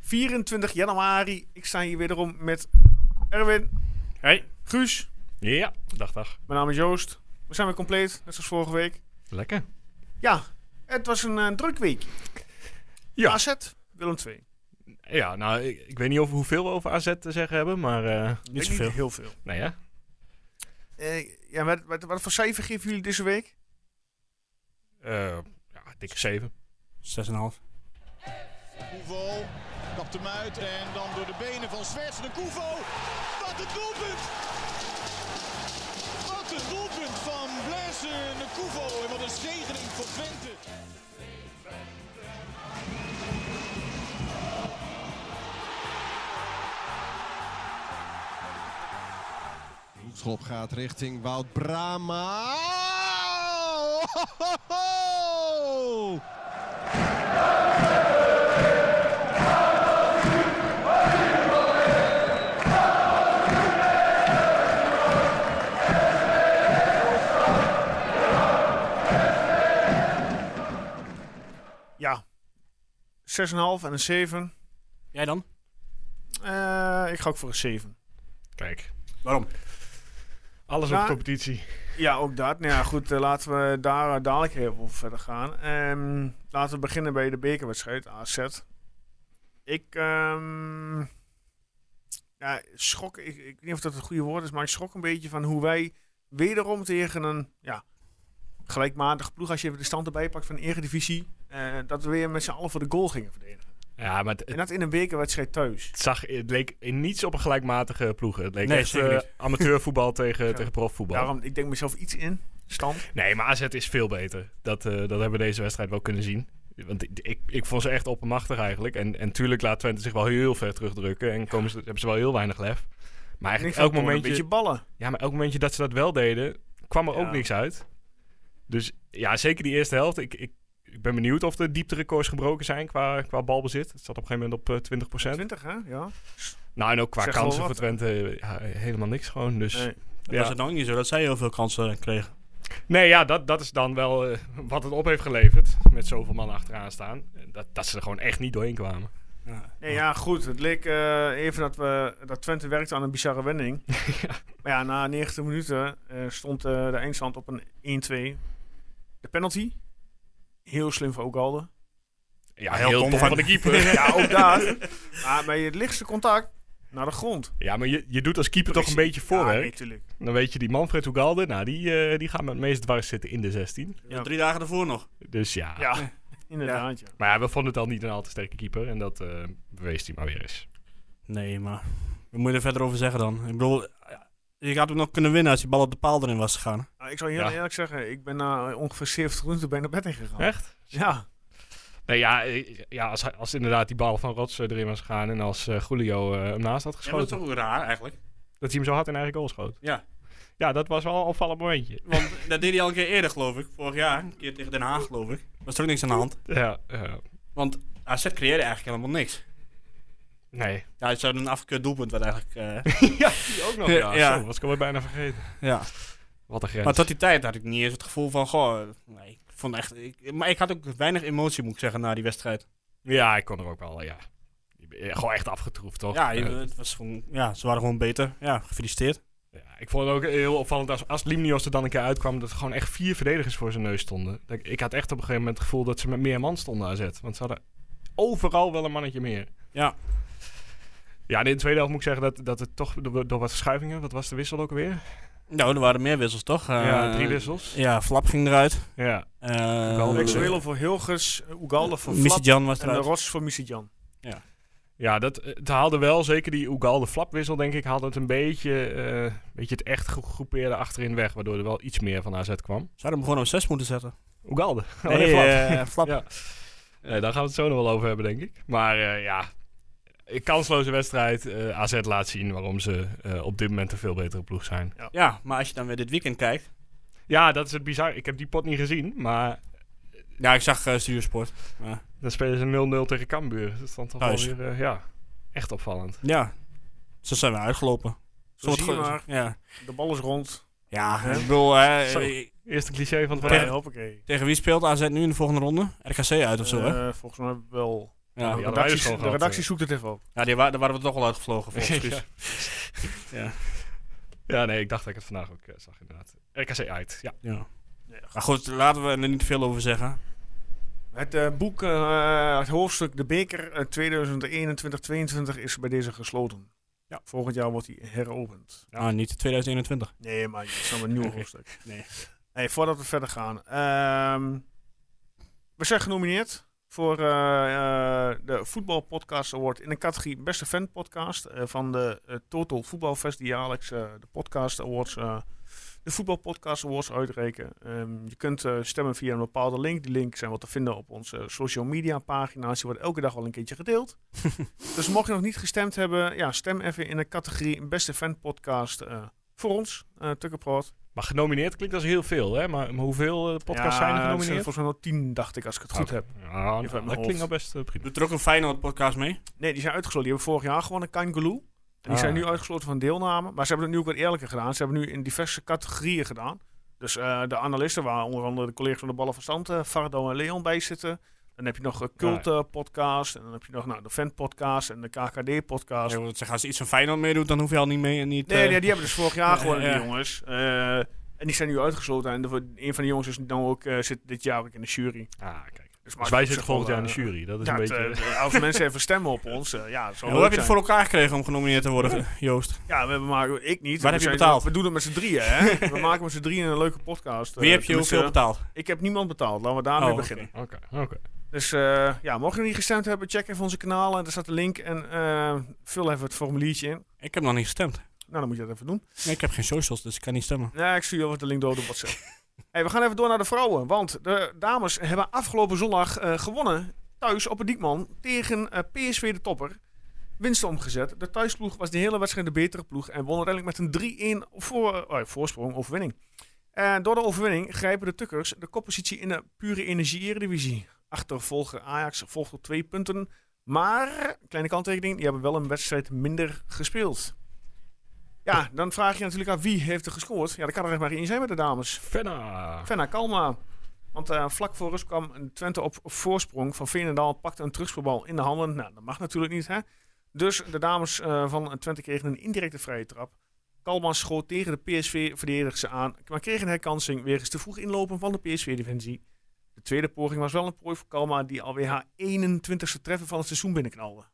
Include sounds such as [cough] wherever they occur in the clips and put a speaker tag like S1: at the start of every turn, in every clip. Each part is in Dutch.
S1: 24 januari. Ik sta hier weer om met Erwin,
S2: Hey.
S1: Guus.
S2: Ja, dag, dag.
S1: Mijn naam is Joost. We zijn weer compleet, net zoals vorige week.
S2: Lekker.
S1: Ja, het was een eh, druk week.
S2: Ja.
S1: AZ, Willem II.
S2: Ja, nou, ik, ik weet niet over hoeveel we over AZ te zeggen hebben, maar... eh
S1: Niet
S2: zoveel.
S1: heel veel.
S2: Nou ja.
S1: Eh, ja, wat, wat, wat voor cijfer geven jullie deze week?
S2: Eh, ja, dikke zeven.
S3: 6,5.
S4: Koevo kapt hem uit en dan door de benen van Zwerts naar Koevo. Wat een doelpunt! Wat een doelpunt van Blaise naar Koevo en wat een zegening voor Twente. Hoekschop gaat richting Wout Brama. Oh,
S1: Ja, 6,5 en een 7.
S3: Jij dan?
S1: Eh, ik ga ook voor een 7.
S2: Kijk,
S3: Waarom?
S2: alles
S1: Maar-
S2: op competitie.
S1: Ja, ook dat. Nou ja, goed, eh, laten we daar eh, dadelijk even op verder gaan. Ehm, laten we beginnen bij de bekerwedstrijd, AZ. Ik, ehm, ja, schrok, ik, ik weet niet of dat het goede woord is, maar ik schrok een beetje van hoe wij wederom tegen een ja, gelijkmatige ploeg, als je even de stand erbij pakt van de Eredivisie, eh, dat we weer met z'n allen voor de goal gingen verdedigen.
S2: Ja, maar het,
S1: En
S2: het
S1: dat in een bekerwedstrijd thuis.
S2: zag, het leek in niets op een gelijkmatige ploeg. Het leek
S3: Nee,
S2: echt
S3: zeker
S2: eh,
S3: niet.
S2: amateurvoetbal [laughs] tegen,
S1: Ja.
S2: tegen profvoetbal.
S1: Daarom, ik denk mezelf iets in, stand.
S2: Nee, maar AZ is veel beter. Dat, eh, dat hebben we deze wedstrijd wel kunnen zien. Want ik, ik, ik vond ze echt oppermachtig eigenlijk. En, en tuurlijk laat Twente zich wel heel ver terugdrukken. En komen ze, hebben ze wel heel weinig lef. Maar
S1: Ik
S2: eigenlijk
S1: vond
S2: elk
S1: het gewoon
S2: momentje...
S1: Een beetje ballen.
S2: Ja, maar elk momentje dat ze dat wel deden, kwam er
S1: Ja.
S2: ook niks uit. Dus ja, zeker die eerste helft. Ik, ik, ik ben benieuwd of de diepterecords gebroken zijn qua, qua balbezit. Het zat op een gegeven moment op eh, 20
S1: 20, hè? Ja.
S2: Nou, en ook qua
S1: Zegt wel
S2: kansen voor
S1: wat,
S2: Twente eh, ja, helemaal niks gewoon. Dus
S1: Nee.
S3: Dat
S2: Ja.
S3: Was het nou ook niet zo dat zij heel veel kansen kregen?
S2: nee, ja, dat, dat is dan wel eh, wat het op heeft geleverd. Met zoveel mannen achteraan staan. Eh, Dat, dat ze er gewoon echt niet doorheen kwamen.
S3: Ja.
S1: Nee, ja, goed. Het leek eh, even dat, we, dat Twente werkte aan een bizarre
S3: [laughs]
S1: wending. Maar ja, na 90 minuten eh, stond eh, de eindstand op een 1-2. De penalty. Heel slim voor Ogalde.
S2: Ja,
S3: Heel
S2: heel,
S3: dom
S2: dom
S3: van-
S2: van de
S1: [laughs]
S2: keeper.
S1: Ja, ook daar. maar bij het lichtste contact naar de grond.
S2: ja, maar je, je doet als keeper toch een beetje
S1: Ja,
S2: voorwerk.
S1: natuurlijk.
S2: Dan weet je, die Manfred Ugalde, nou, die, eh, die gaat met het meest dwars zitten in de 16.
S1: Ja.
S3: Drie dagen daarvoor nog.
S2: Dus ja,
S3: [laughs]
S1: Ja, inderdaad. Ja.
S2: Maar ja, we vonden het al niet een al te sterke keeper. En dat eh, bewees hij maar weer eens.
S3: Nee, maar we moeten er verder over zeggen dan. Ik bedoel, je had ook nog kunnen winnen als die bal op de paal erin was gegaan.
S1: Nou, ik zou heel
S2: Ja.
S1: eerlijk zeggen, ik ben na ongeveer 70 minuten bijna bed ingegaan.
S2: Oh. Echt?
S1: Ja.
S2: Nee, ja, eh, ja als, hij- als inderdaad die bal van Rots eh, erin was gegaan. En als eh, Julio eh, hem naast had geschoten. dat,
S3: ook raar eigenlijk.
S2: hij hem zo hard in eigen goal schoot.
S3: Ja.
S2: Ja, dat was wel een opvallend momentje.
S3: Want [laughs] dat deed hij al een keer eerder, geloof ik. Vorig jaar, een keer tegen Den Haag, geloof ik. Was er ook niks aan de hand.
S2: Ja, eh,
S3: Want AZ creëerde eigenlijk helemaal niks.
S2: nee.
S3: Ja, het zou een afgekeurd doelpunt werd eigenlijk.
S2: [laughs]
S3: eh,
S2: ja, die ook nog. Ja,
S3: Ja.
S2: Zo, was ik alweer bijna vergeten.
S3: [laughs] ja.
S2: Wat een grens.
S3: Maar tot die tijd had ik niet eens het gevoel van, goh, nee, ik vond echt, ik- maar ik had ook weinig emotie, moet ik zeggen, na die wedstrijd.
S2: Ja, ik kon er ook wel, ja. Ik ben, eh, Gewoon echt afgetroefd, toch?
S3: ja, je-
S2: Eh,
S3: het was gewoon, ja, ze waren gewoon beter. Ja, gefeliciteerd.
S2: Ja, ik vond het ook heel opvallend als, als Limnios er dan een keer uitkwam... dat er gewoon echt vier verdedigers voor zijn neus stonden. Dat Ik, ik had echt op een gegeven moment het gevoel dat ze met meer man stonden AZ. Want ze hadden overal wel een mannetje meer.
S3: Ja,
S2: Ja, en in de tweede helft moet ik zeggen dat, dat het toch door, door wat verschuivingen... wat was de wissel ook weer?
S3: nou, er waren meer wissels, toch?
S2: ja,
S3: Eh,
S2: drie wissels.
S3: Ja, Flap ging eruit.
S2: Ja,
S3: Eh,
S2: Wel
S1: Lex
S2: wissel.
S1: Whalen voor Hilgers, Oegalde voor
S3: Missy
S1: Flap
S3: Jan was
S1: en de
S3: eruit.
S1: Rots voor Missy Jan.
S2: ja dat, het haalde wel, zeker die Ugal de flapwissel denk ik... haalde het een beetje, eh, een beetje het echt gegroepeerde achterin weg... waardoor er wel iets meer van AZ kwam.
S3: Zouden hem gewoon op zes moeten zetten.
S2: Ugalde. [laughs]
S3: Nee, eh, [laughs] Flap.
S2: Ja. Nee, daar gaan we het zo nog wel over hebben, denk ik. Maar eh, ja, een kansloze wedstrijd. Eh, AZ laat zien waarom ze eh, op dit moment een veel betere ploeg zijn.
S3: Ja, maar als je dan weer dit weekend kijkt.
S2: Ja, dat is het bizar. Ik heb die pot niet gezien, maar
S3: Ja, ik zag eh Stuursport. Ja.
S2: dan spelen ze 0-0 tegen Cambuur. Dat is dan toch wel
S3: Thuis.
S2: weer, eh, ja, echt opvallend.
S3: ja, ze zijn weer uitgelopen.
S1: Zo zie je
S3: goed-
S1: Dus maar.
S3: Ja,
S1: De bal is rond.
S3: ja
S1: Hè?
S3: ik bedoel, hè,
S2: Zo.
S3: eh,
S2: Eerste cliché van het
S1: Ja,
S2: verhaal.
S1: hoppakee.
S3: tegen wie speelt AZ nu in de volgende ronde? RKC uit of zo, hè?
S1: Eh, volgens mij wel.
S3: Ja,
S1: de
S2: Ja.
S3: ja.
S2: hadden wij
S1: redactie,
S2: dus gewoon
S1: de
S2: gehad,
S1: redactie
S2: eh.
S1: zoekt het even op.
S3: die wa- daar waren we toch al uitgevlogen [laughs] volgens
S2: Ja.
S3: mij.
S2: Ja, nee, ik dacht dat ik het vandaag ook eh, zag, inderdaad. RKC uit, ja.
S3: Ja.
S1: Ja,
S3: Maar goed, laten we er niet veel over zeggen.
S1: Het eh, boek, eh, het hoofdstuk De Beker eh, 2021-22 is bij deze gesloten.
S3: Ja.
S1: Volgend jaar wordt hij heropend.
S2: Ja.
S3: Ah, niet 2021.
S1: Nee, maar het is dan een nieuw
S3: Oké.
S1: hoofdstuk.
S3: Nee.
S1: Hey, voordat we verder gaan. ehm, we zijn genomineerd voor eh, eh, de Voetbal Podcast Award in de categorie Beste Fan Podcast eh, van de eh, Total Voetbalfest die jaarlijks eh, de Podcast Awards, eh, de Voetbal Podcast Awards uitreiken. Ehm, je kunt eh, stemmen via een bepaalde link. Die link zijn wat te vinden op onze social media pagina's. Die wordt elke dag wel een keertje
S3: [laughs]
S1: gedeeld. dus mocht je nog niet gestemd hebben, ja, stem even in de categorie Beste Fan Podcast eh, voor ons, eh Tukkenproot.
S2: Maar genomineerd klinkt als heel veel, hè? Maar, maar hoeveel eh, podcasts zijn er
S1: Ja, het
S2: genomineerd?
S1: volgens mij nog tien, dacht ik, als ik het goed
S2: Oké.
S1: heb.
S2: Ja, nou,
S1: uit mijn
S2: dat
S1: hoofd.
S2: klinkt al best eh, prima.
S3: Doet er ook een Feyenoord podcast mee?
S1: Nee, die zijn uitgesloten. Die hebben vorig jaar gewonnen, Kangaloo. En die
S2: Ah.
S1: zijn nu uitgesloten van deelname. Maar ze hebben het nu ook wat eerlijker gedaan. Ze hebben nu in diverse categorieën gedaan. Dus eh, de analisten waren onder andere de collega's van de Ballen van Stand, eh, Vardo en Leon bij zitten. Dan heb je nog een cult eh, podcast. En dan heb je nog nou, de fan podcast en de KKD podcast.
S3: Als, ik wil zeggen, als je iets van Feyenoord meedoet, dan hoef je al niet mee. en Niet,
S1: Nee,
S3: eh,
S1: nee, die hebben dus vorig jaar
S3: ja,
S1: gewonnen, die
S3: ja.
S1: jongens. Eh, en die zijn nu uitgesloten. En de- een van de jongens is nou ook, eh, zit dit jaar ook in de jury.
S2: Ah, kijk.
S1: Dus, maar
S2: Dus
S1: ik op
S2: wij zitten
S1: zich wel,
S2: volgend jaar in de
S1: eh,
S2: jury. Dat is
S1: Ja,
S2: een
S1: het,
S2: beetje...
S1: eh, als mensen even stemmen op ons, eh, ja, zo
S3: Ja, hoe heb je het voor elkaar gekregen om genomineerd te worden joost?
S1: Ja, we hebben maar ik niet.
S3: Waar
S1: We
S3: heb je
S1: zijn-
S3: betaald?
S1: We doen het met z'n drieën,
S3: [laughs]
S1: hè? we maken met z'n drieën een leuke podcast. eh,
S3: Wie heb je
S1: tenminste,
S3: hoeveel betaald?
S1: Ik heb niemand betaald. Laten we daarmee
S3: Oh, oké.
S1: beginnen.
S2: Oké, oké.
S1: Dus eh, ja, mocht je nog niet gestemd hebben, check even onze kanalen. Daar staat de link en eh, vul even het formuliertje in.
S3: Ik heb nog niet gestemd.
S1: Nou, dan moet je dat even doen.
S3: Nee, ik heb geen socials, dus ik kan niet stemmen.
S1: Nee, ik stuur je wel even de link door op WhatsApp. hey, we gaan even door naar de vrouwen. Want de dames hebben afgelopen zondag eh, gewonnen. Thuis op het Diekman tegen eh, PSV de topper. Winst omgezet. De thuisploeg was de hele wedstrijd de betere ploeg. En won uiteindelijk met een 3-1 voor, eh, voorsprong overwinning. En door de overwinning grijpen de Tukkers de koppositie in de pure energie-eredivisie. Achtervolger Ajax volgt op twee punten. Maar, kleine kanttekening, die hebben wel een wedstrijd minder gespeeld. Ja, dan vraag je natuurlijk aan wie heeft er gescoord. Ja, dat kan er echt maar één zijn met de dames.
S2: Fenna.
S1: Fenna Kalma. Want eh, vlak voor rust kwam Twente op voorsprong. Van Veenendaal pakte een terugspeelbal in de handen. Nou, dat mag natuurlijk niet, hè? Dus de dames eh, van Twente kregen een indirecte vrije trap. Kalma schoot tegen de PSV-verdediger ze aan. Maar kreeg een herkansing wegens te vroeg inlopen van de PSV-defensie. De tweede poging was wel een prooi voor Kalma, die alweer haar 21ste treffer van het seizoen binnenknalde.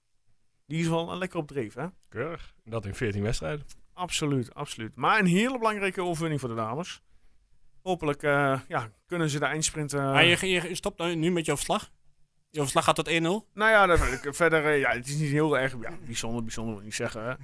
S1: Die is wel een lekker op dreef, hè?
S2: Keurig. Dat in 14 wedstrijden.
S1: Absoluut, absoluut. Maar een hele belangrijke overwinning voor de dames. Hopelijk eh, ja, kunnen ze de eindsprint... eh,
S3: maar je, je, je stopt nou nu- nu met je overslag. Je overslag gaat tot 1-0.
S1: Nou ja, dat, ik- verder, eh, ja, het is niet heel erg ja, bijzonder, bijzonder wil ik niet zeggen. Hè.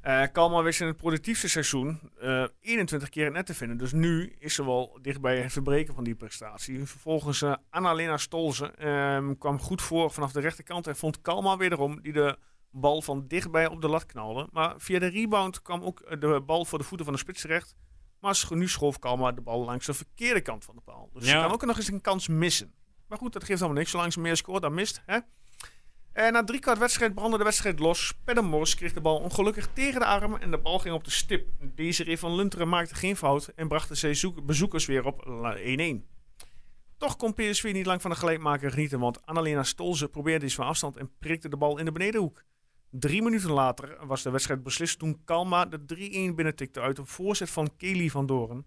S1: Eh, Kalmar wist in het productiefste seizoen eh, 21 keer het net te vinden. Dus nu is ze wel dichtbij het verbreken van die prestatie. Vervolgens eh Annalena Stolze ehm, kwam goed voor vanaf de rechterkant en vond Kalmar wederom die de bal van dichtbij op de lat knalde. Maar via de rebound kwam ook eh, de bal voor de voeten van de spits terecht. Maar sch- nu schoof Kalmar de bal langs de verkeerde kant van de paal. Dus ze
S3: Ja.
S1: kan ook nog eens een kans missen. Maar goed, dat geeft allemaal niks. Zolang ze meer scoort, dan mist. Hè? En Eh, na drie kwart wedstrijd brandde de wedstrijd los. Padden Morris kreeg de bal ongelukkig tegen de arm en de bal ging op de stip. Desiree van Lunteren maakte geen fout en bracht de zeezoek- bezoekers weer op la- 1-1. Toch kon PSV niet lang van de gelijkmaker genieten, want Annalena Stolze probeerde iets van afstand en prikte de bal in de benedenhoek. Drie minuten later was de wedstrijd beslist toen Kalma de 3-1 binnentikte uit een voorzet van Kelly van Doren.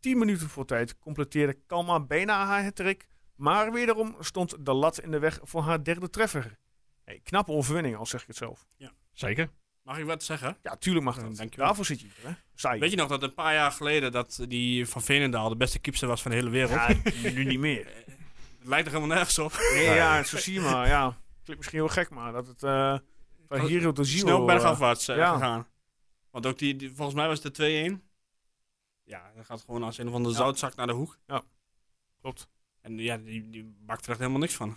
S1: Tien minuten voor tijd completeerde Kalma bijna haar hattrick, maar wederom stond de lat in de weg voor haar derde treffer. Hey, knappe overwinning, al zeg ik het zelf.
S2: Zeker.
S3: Mag ik wat zeggen?
S1: Ja, tuurlijk mag
S3: Ja,
S1: dat.
S3: dankjewel.
S1: Daarvoor zit je hier, hè? Saai.
S3: Weet je nog dat een paar jaar geleden dat die van Veenendaal de beste keeper was van de hele wereld?
S1: Ja, nu niet meer.
S3: Het lijkt er helemaal nergens op.
S1: Nee, ja, zo zie je maar. Ja. Klinkt misschien heel gek, maar dat het eh van hier tot hier...
S3: Snel bergafwaarts eh,
S1: ja.
S3: gegaan. Want ook die, die- volgens mij was het de 2-1. Ja, dan gaat gewoon als een van de
S1: Ja.
S3: zoutzak naar de hoek.
S1: Ja. eh, Klopt.
S3: En ja, die, die bakt er echt helemaal niks van.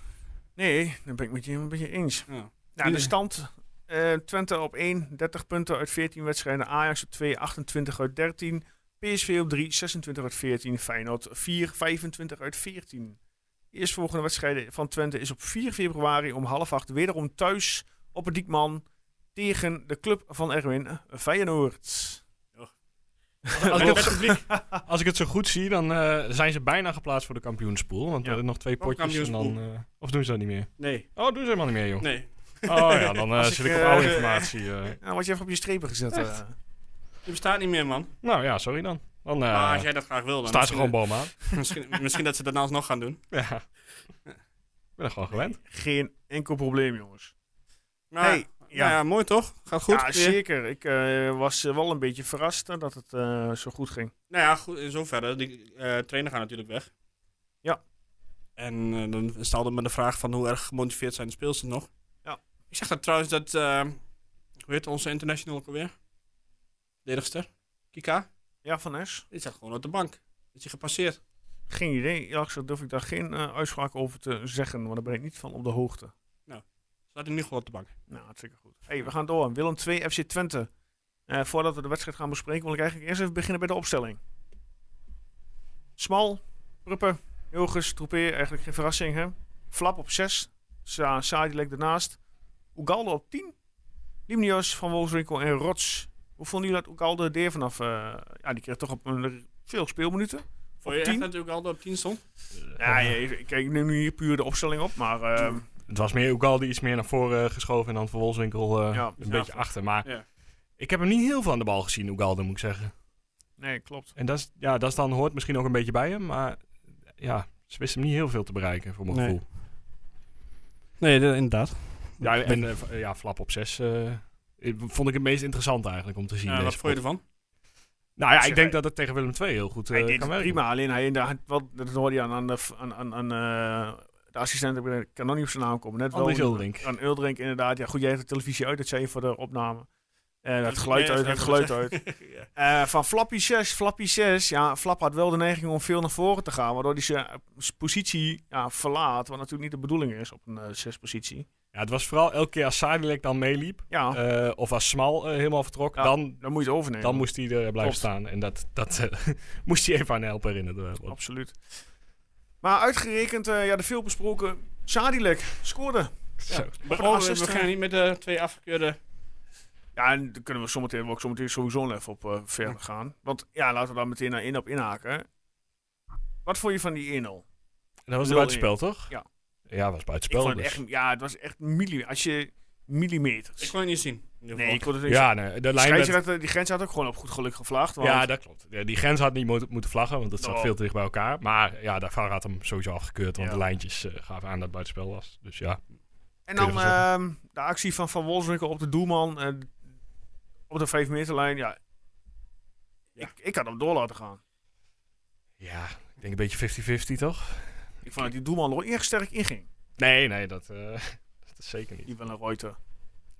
S1: Nee, daar ben ik met je een beetje eens.
S3: Ja.
S1: Nou, de stand. eh, Twente op 1, 30 punten uit 14 wedstrijden. Ajax op 2, 28 uit 13. PSV op 3, 26 uit 14. Feyenoord 4, 25 uit 14. De eerstvolgende wedstrijd van Twente is op 4 februari om half 8 wederom thuis op het Diekman tegen de club van Erwin eh, Feyenoord.
S2: [laughs] Als ik, het, publiek- als ik het zo goed zie, dan eh, zijn ze bijna geplaatst voor de kampioenspool. Want
S1: Ja.
S2: we hebben nog twee
S3: Oh,
S2: potjes en dan... eh, of doen ze dat niet meer?
S3: [laughs] Nee.
S2: Oh, doen ze helemaal niet meer, joh.
S3: Nee.
S2: Oh ja, dan eh,
S1: Als
S2: zit
S1: ik,
S2: ik op
S1: eh,
S2: oude
S1: de-
S2: informatie. eh.
S1: Ja, word Nou, je even op je strepen gezet. eh.
S3: Je bestaat niet meer, man.
S2: Nou ja, sorry dan. Dan eh,
S3: maar als jij dat graag wil, dan
S2: staat ze
S3: misschien-
S2: gewoon boom aan.
S3: misschien, misschien dat ze daarna nog gaan
S2: [laughs]
S3: doen.
S2: Ja. Ik ben er gewoon gewend.
S1: Geen enkel probleem, jongens.
S3: Maar, nou
S1: Hey, ja.
S3: ja. ja, mooi toch? Gaat goed.
S1: ja,
S3: weer.
S1: zeker. Ik eh, was eh, wel een beetje verrast hè, dat het eh, zo goed ging.
S3: Nou ja, goed, in zoverre. Die eh, trainer gaat natuurlijk weg.
S1: Ja.
S3: En eh, dan stelde me de vraag van hoe erg gemotiveerd zijn de speelsters nog.
S1: Ja.
S3: Ik zeg dat trouwens dat, eh, hoe heet onze international ook alweer? Verdedigster? Kika?
S1: Ja, Van Es?
S3: Die zat gewoon op de bank. Is hij gepasseerd?
S1: Geen idee. Eerlijk gezegd durf ik daar geen eh, uitspraak over te zeggen, want daar ben ik niet van op de hoogte.
S3: Staat hij nu gewoon op de bank?
S1: Nou, hartstikke goed. hey, we gaan door. Willem 2, FC Twente. Eh, voordat we de wedstrijd gaan bespreken, wil ik eigenlijk eerst even beginnen bij de opstelling. Smal, Ruppe, Hilgers, Troepé, eigenlijk geen verrassing hè. Flap op 6, Sa Sadilek ernaast. Ugalde op 10, Limnios, Van Wolfswinkel en Rots. Hoe vonden jullie dat Ugalde er vanaf? eh, ja, die kreeg toch op een, eh, veel speelminuten.
S3: Vond je echt
S1: tien?
S3: natuurlijk al dat op 10 stond?
S1: Ja,
S2: eh,
S1: je- kijk, ik neem nu hier puur de opstelling op, maar ehm,
S2: Het was meer Ugalde iets meer naar voren eh, geschoven en dan Van Wolfswinkel eh,
S1: Ja.
S2: een
S3: Ja.
S2: beetje achter. Maar
S3: Ja.
S2: ik heb hem niet heel veel aan de bal gezien, Ugalde, moet ik zeggen.
S1: nee, klopt.
S2: En dat, is, ja, dat is dan, hoort misschien ook een beetje bij hem, maar ja, ze wisten hem niet heel veel te bereiken, voor mijn
S3: Nee.
S2: gevoel.
S3: Nee, inderdaad.
S2: Ja, en eh, v- ja, Flap op 6 vond ik het meest interessant eigenlijk om te zien.
S3: Ja,
S2: deze
S3: wat vond je
S2: pot.
S3: ervan?
S2: Nou ja,
S1: Zeg,
S2: ik denk
S1: hij-
S2: dat het tegen Willem II heel goed eh,
S1: hij deed
S2: kan
S1: het
S2: werken.
S1: prima, alleen hij, hij had wel, dat hoorde je aan, aan, de, f- aan, aan, aan, eh, de assistent, ik ben- ik kan nog niet op zijn naam komen. Net wel
S2: Andries
S1: een-
S2: Uldink.
S1: Aan Uldrink, inderdaad. Ja, goed, jij hebt de televisie uit, dat zei je voor de opname. Eh dat
S3: Nee,
S1: geluid
S3: dat
S1: uit,
S3: heb
S1: dat
S3: ik
S1: geluid
S3: gezegd.
S1: uit.
S2: [laughs]
S1: Eh, van Flappy 6, Flappy 6. Ja, Flap had wel de neiging om veel naar voren te gaan, waardoor hij zijn eh, s- positie ja, verlaat, wat natuurlijk niet de bedoeling is op een eh, zespositie.
S2: Ja, het was vooral elke keer als Sadilek dan meeliep,
S1: Ja,
S2: eh, of als Smal eh, helemaal vertrok,
S1: Ah. Ja.
S2: dan
S1: dan moet je het overnemen.
S2: Dan moest hij er blijven
S1: Klopt.
S2: staan. En dat, dat eh, [laughs] moest hij even aan helpen herinneren. eh, Rob.
S1: Absoluut. Maar uitgerekend, eh, ja, de veelbesproken Sadilek scoorde.
S2: Zo.
S3: Maar,
S1: een
S3: oh, we
S1: assist,
S3: beginnen niet met de twee afgekeurde
S1: Ja, en daar kunnen we zometeen, wil ik zometeen sowieso nog even op eh, verder gaan. Want ja, laten we daar meteen naar in op inhaken. Wat vond je van die 1-0?
S2: En dat
S1: 0-1.
S2: was het buitenspel, toch?
S1: Ja.
S2: Ja, dat was
S1: Ik
S2: buitenspel.
S1: vond het
S2: dus.
S1: echt, ja, het was echt milli als je millimeters.
S3: Ik kon het niet zien. in ieder
S1: nee,
S3: geval.
S1: ik kon het niet.
S2: Ja, nee, de
S1: de
S2: lijn werd-
S1: scheidsrechter, die grens had ook gewoon op goed geluk gevlaagd. Want,
S2: Ja, dat klopt. Ja, die grens had niet mo- moeten vlaggen, want dat zat
S1: Oh.
S2: veel te dicht bij elkaar. Maar ja, de VAR had hem sowieso afgekeurd, want
S1: Ja.
S2: de lijntjes eh, gaven aan dat het buitenspel was. Dus ja.
S1: en dan
S2: kun je wel
S1: ehm, de actie van Van Wolfswinkel op de doelman. eh, op de 5 meterlijn, ja.
S3: Ja.
S1: Ik, ik had hem door laten gaan.
S2: Ja, ik denk een beetje 50-50, toch?
S1: Ik vond dat die doelman nog erg sterk inging.
S2: Nee, nee, dat, eh, [laughs] dat is zeker niet.
S1: Die van de Reuter.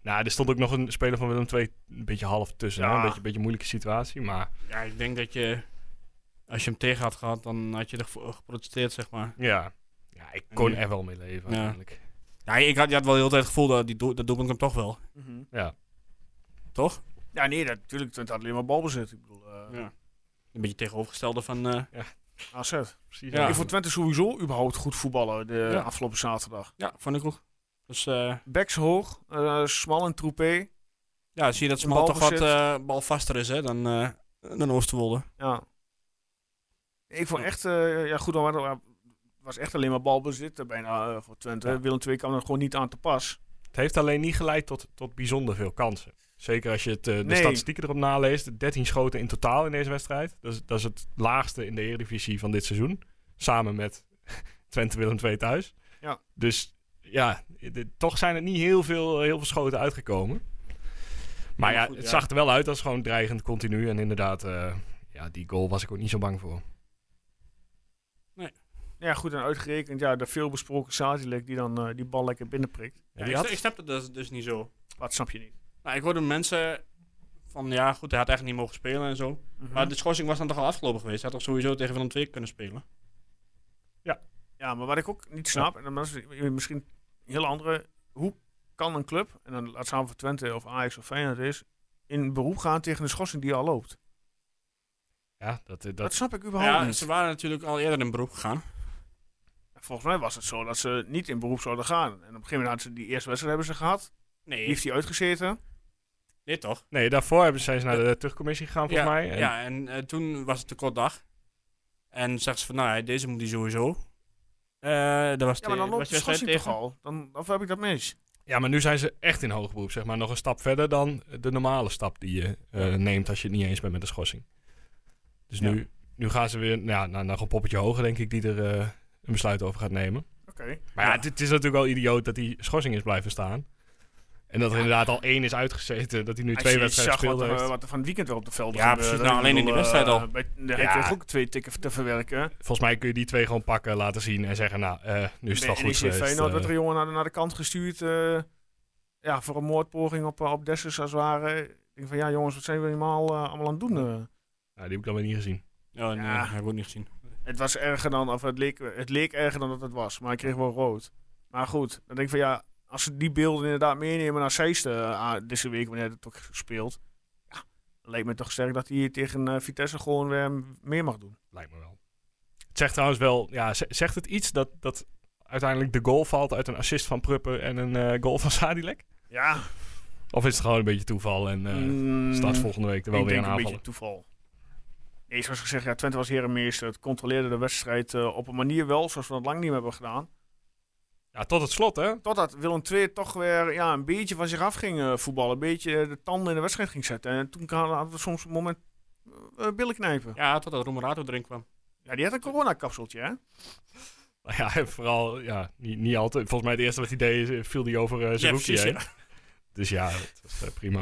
S2: Nou, er stond ook nog een speler van Willem II een beetje half tussen.
S1: Ja.
S2: hè. Een beetje, beetje moeilijke situatie, maar
S3: Ja, ik denk dat je, als je hem tegen had gehad, dan had je er ge- geprotesteerd, zeg maar.
S2: ja. Ja, ik kon
S3: Ja.
S2: er wel mee leven
S3: Ja.
S2: eigenlijk.
S3: Ja, ik had, je had wel heel tijd het gevoel dat die doel- dat doelpunt hem toch wel,
S2: Ja.
S3: toch?
S1: Mhm. Ja, nee, dat- natuurlijk. Het had alleen maar balbezit. Ik bedoel, eh
S3: Ja. Een beetje tegenovergestelde van, eh,
S1: AZ.
S2: Precies.
S3: Ja.
S1: Ik vond Twente sowieso überhaupt goed voetballen de
S3: Ja.
S1: afgelopen zaterdag.
S3: ja, vond ik ook. Dus eh,
S1: Backs hoog, eh, smal en troepé.
S3: ja, zie je dat
S1: Een
S3: Smal toch wat
S1: balbezit.
S3: eh balvaster is, hè, dan, eh dan Oosterwolde.
S1: Ja. Ik vond echt, eh, ja goed, dan waren- was echt alleen maar balbezit eh, bijna eh, voor Twente.
S2: Ja.
S1: Willem II kwam er gewoon niet aan te pas.
S2: Het heeft alleen niet geleid tot, tot bijzonder veel kansen. Zeker als je het, eh, de
S1: Nee.
S2: statistieken erop naleest. 13 schoten in totaal in deze wedstrijd. Dat is, dat is het laagste in de Eredivisie van dit seizoen. Samen met [laughs] Twente Willem II thuis.
S1: Ja.
S2: Dus ja, de- toch zijn er niet heel veel, eh, heel veel schoten uitgekomen. Maar
S3: Ja,
S2: ja,
S3: goed,
S2: het
S3: ja.
S2: zag er wel uit als gewoon dreigend continu. En inderdaad, eh, ja, die goal was ik ook niet zo bang voor.
S1: Ja goed, en uitgerekend, ja, de veelbesproken Sadilek die dan eh, die bal lekker binnenprikt.
S2: Ja,
S3: Ja,
S2: die
S3: ik,
S2: had-
S3: ik snap dat dus, dus niet zo.
S1: Wat snap je niet?
S3: Nou, ik hoorde mensen van, ja goed, hij had echt niet mogen spelen en zo.
S1: Mhm.
S3: Maar de schorsing was dan toch al afgelopen geweest. Hij had toch sowieso tegen Willem II kunnen spelen.
S1: Ja, maar wat ik ook niet snap, en dat is misschien een heel andere, hoe kan een club, en dan laat samen voor Twente of Ajax of Feyenoord is, in beroep gaan tegen de schorsing die al loopt? Dat,
S2: ja, dat, eh, dat,
S1: snap ik überhaupt
S3: Ja,
S1: niet.
S3: ze waren natuurlijk al eerder in beroep gegaan.
S1: Volgens mij was het zo dat ze niet in beroep zouden gaan. En op een gegeven moment hadden ze die eerste wedstrijd hebben ze gehad.
S3: Nee,
S1: Die heeft hij uitgezeten.
S3: Nee, toch?
S2: Nee, daarvoor hebben ze- zijn ze naar de terugcommissie gegaan, volgens
S3: ja,
S2: mij. En-
S3: ja, en eh, toen was het te kort dag. En zegt ze van, nou ja, deze moet hij sowieso. Eh dat was
S1: Ja, maar dan loopt
S3: te-
S1: de
S3: was wedstrijd
S1: schorsing toch al? Dan, of heb ik dat mis?
S2: Ja, maar nu zijn ze echt in hoog beroep, zeg maar. Nog een stap verder dan de normale stap die je eh, neemt als je het niet eens bent met de schorsing. Dus
S3: Ja.
S2: nu, nu gaan ze weer nou, ja, naar, naar een poppetje hoger, denk ik, die er eh, een besluit over gaat nemen.
S1: Oké.
S2: Maar ja, het, het is natuurlijk wel idioot dat die schorsing is blijven staan. En dat er inderdaad al één is uitgezeten, dat hij nu
S1: Als
S2: twee
S1: je
S2: wedstrijden
S1: zag
S2: gespeeld
S1: wat, er,
S2: heeft.
S1: wat er van het weekend weer op de veld
S3: Ja, precies. Nou, alleen in die wedstrijd al.
S1: eh, Daar heb je toch ook twee tikken te verwerken.
S2: Volgens mij kun je die twee gewoon pakken, laten zien en zeggen, nou, eh, nu is het al goed
S1: En
S2: geweest.
S1: Feyenoord werd er
S2: eh.
S1: een jongen naar de, naar de kant gestuurd. eh, ja, voor een moordpoging op, eh, op Dessers als het ware. Ik denk van, ja jongens, wat zijn we helemaal eh, allemaal aan het doen? eh?
S2: Nou, die heb ik dan weer niet gezien.
S3: Ja, Oh, nee,
S1: Ja.
S3: heb ik ook niet gezien.
S1: Het was erger dan, of het leek, het leek erger dan dat het was. Maar ik kreeg wel rood. Maar goed, dan denk ik van ja, als ze die beelden inderdaad meenemen naar Zeist eh, ah, deze week, wanneer het ook speelt. Ja, dan lijkt me toch sterk dat hij hier tegen eh, Vitesse gewoon weer m- meer mag doen.
S2: Lijkt me wel. Het zegt trouwens wel, ja, z- zegt het iets dat, dat uiteindelijk de goal valt uit een assist van Prupper en een eh, goal van Sadilek?
S1: Ja,
S2: Of is het gewoon een beetje toeval en eh
S1: mm,
S2: start volgende week er wel
S1: ik
S2: weer
S1: denk
S2: een
S1: een
S2: aanval?
S1: beetje toeval. Nee, zoals gezegd, ja, Twente was herenmeester. Het controleerde de wedstrijd eh, op een manier wel, zoals we dat lang niet meer hebben gedaan.
S2: Ja, tot het slot, hè? [laughs]
S1: Totdat Willem II toch weer ja, een beetje van zich af ging eh, voetballen. Een beetje eh, de tanden in de wedstrijd ging zetten. En toen kan- hadden we soms een moment eh, eh, billen knijpen. Ja.
S3: Ja, totdat Romerato erin kwam.
S1: die had een coronakapseltje, hè?
S2: Nou Ja, en vooral, ja, niet, niet altijd. Volgens mij het eerste wat hij deed, eh, viel die over eh, zijn hoekje
S3: precies,
S2: heen. Dus ja, dat was eh, prima.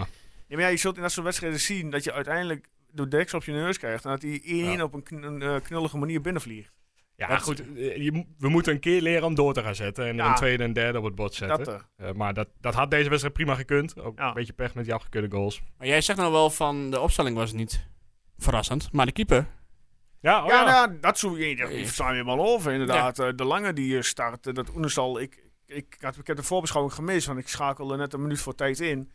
S1: Ja, maar ja, je zult in dat soort wedstrijden zien dat je uiteindelijk de deks op je neus krijgt. En dat die één
S2: Ja.
S1: op een, kn- een, eh, knullige manier binnenvliegt.
S2: Ja,
S1: Dat-
S2: goed, eh, je, mo- we moeten een keer leren om door te gaan zetten en er
S1: Ja.
S2: een tweede en derde op het bord zetten.
S1: Dat, eh,
S2: Eh, maar dat, dat had deze wedstrijd prima gekund. Ook
S1: Ja.
S2: een beetje pech met die afgekeurde goals.
S3: Maar jij zegt nou wel van, de opstelling was niet verrassend. Maar de keeper,
S2: Ja, oh
S1: ja,
S2: ja.
S1: nou ja, dat zo, je, die verslaan weer wel over, inderdaad. Eh, de lange die je start, eh, dat Oenestal, ik, ik, had, ik heb de voorbeschouwing gemist, want ik schakelde net een minuut voor tijd in.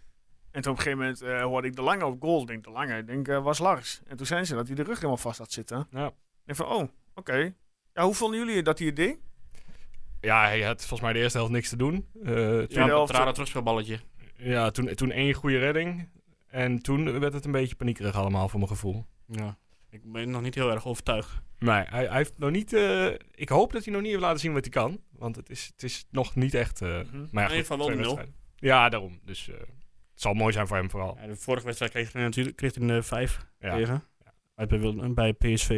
S1: En toen op een gegeven moment eh, hoorde ik de lange op goal. Ik denk, de lange, ik denk, eh, was Lars. En toen zijn ze dat hij de rug helemaal vast had zitten.
S2: Ja.
S1: Ik van, oh, oké. Ja, hoe vonden jullie dat hij het deed?
S2: Ja, hij had volgens mij de eerste helft niks te doen. Eh, toen-
S3: ja,
S1: Tweede
S3: dat
S1: helft,
S3: rare terugspeelballetje.
S2: ja, toen, toen één goede redding. En toen werd het een beetje paniekerig allemaal, voor mijn gevoel.
S3: Ja. Ik ben nog niet heel erg overtuigd.
S2: Maar hij, hij heeft nog niet... eh, ik hoop dat hij nog niet heeft laten zien wat hij kan. Want het is, het is nog niet echt... eh,
S1: Mhm.
S2: maar ja,
S3: In ieder
S2: goed,
S3: geval wel
S2: twee
S3: de nul.
S2: wedstrijden. Ja, daarom. Dus eh, het zal mooi zijn voor hem vooral.
S3: Ja, de vorige wedstrijd kreeg hij natuurlijk kreeg hij een eh, 5
S2: Ja.
S3: tegen. Uit bij, Wil- bij PSV.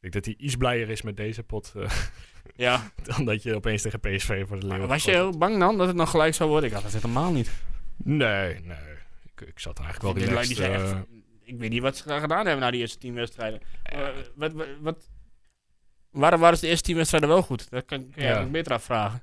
S2: Ik denk dat hij iets blijer is met deze pot... eh, [laughs]
S3: Ja,
S2: dan dat je opeens tegen PSV voor de
S3: maar
S2: leeuw...
S3: was je heel bang dan dat het nog gelijk zou worden? Ik had dat helemaal niet.
S2: Nee, nee. Ik, ik zat eigenlijk wel
S3: Die lui, die
S2: relaxed.
S3: zijn
S2: eh,
S3: echt- ik weet niet wat ze daar gedaan hebben na die eerste tien wedstrijden. Eh, wat, wat, wat, waarom waren ze de eerste tien wedstrijden wel goed? Dat kan, kan je
S2: Ja.
S3: eigenlijk beter afvragen.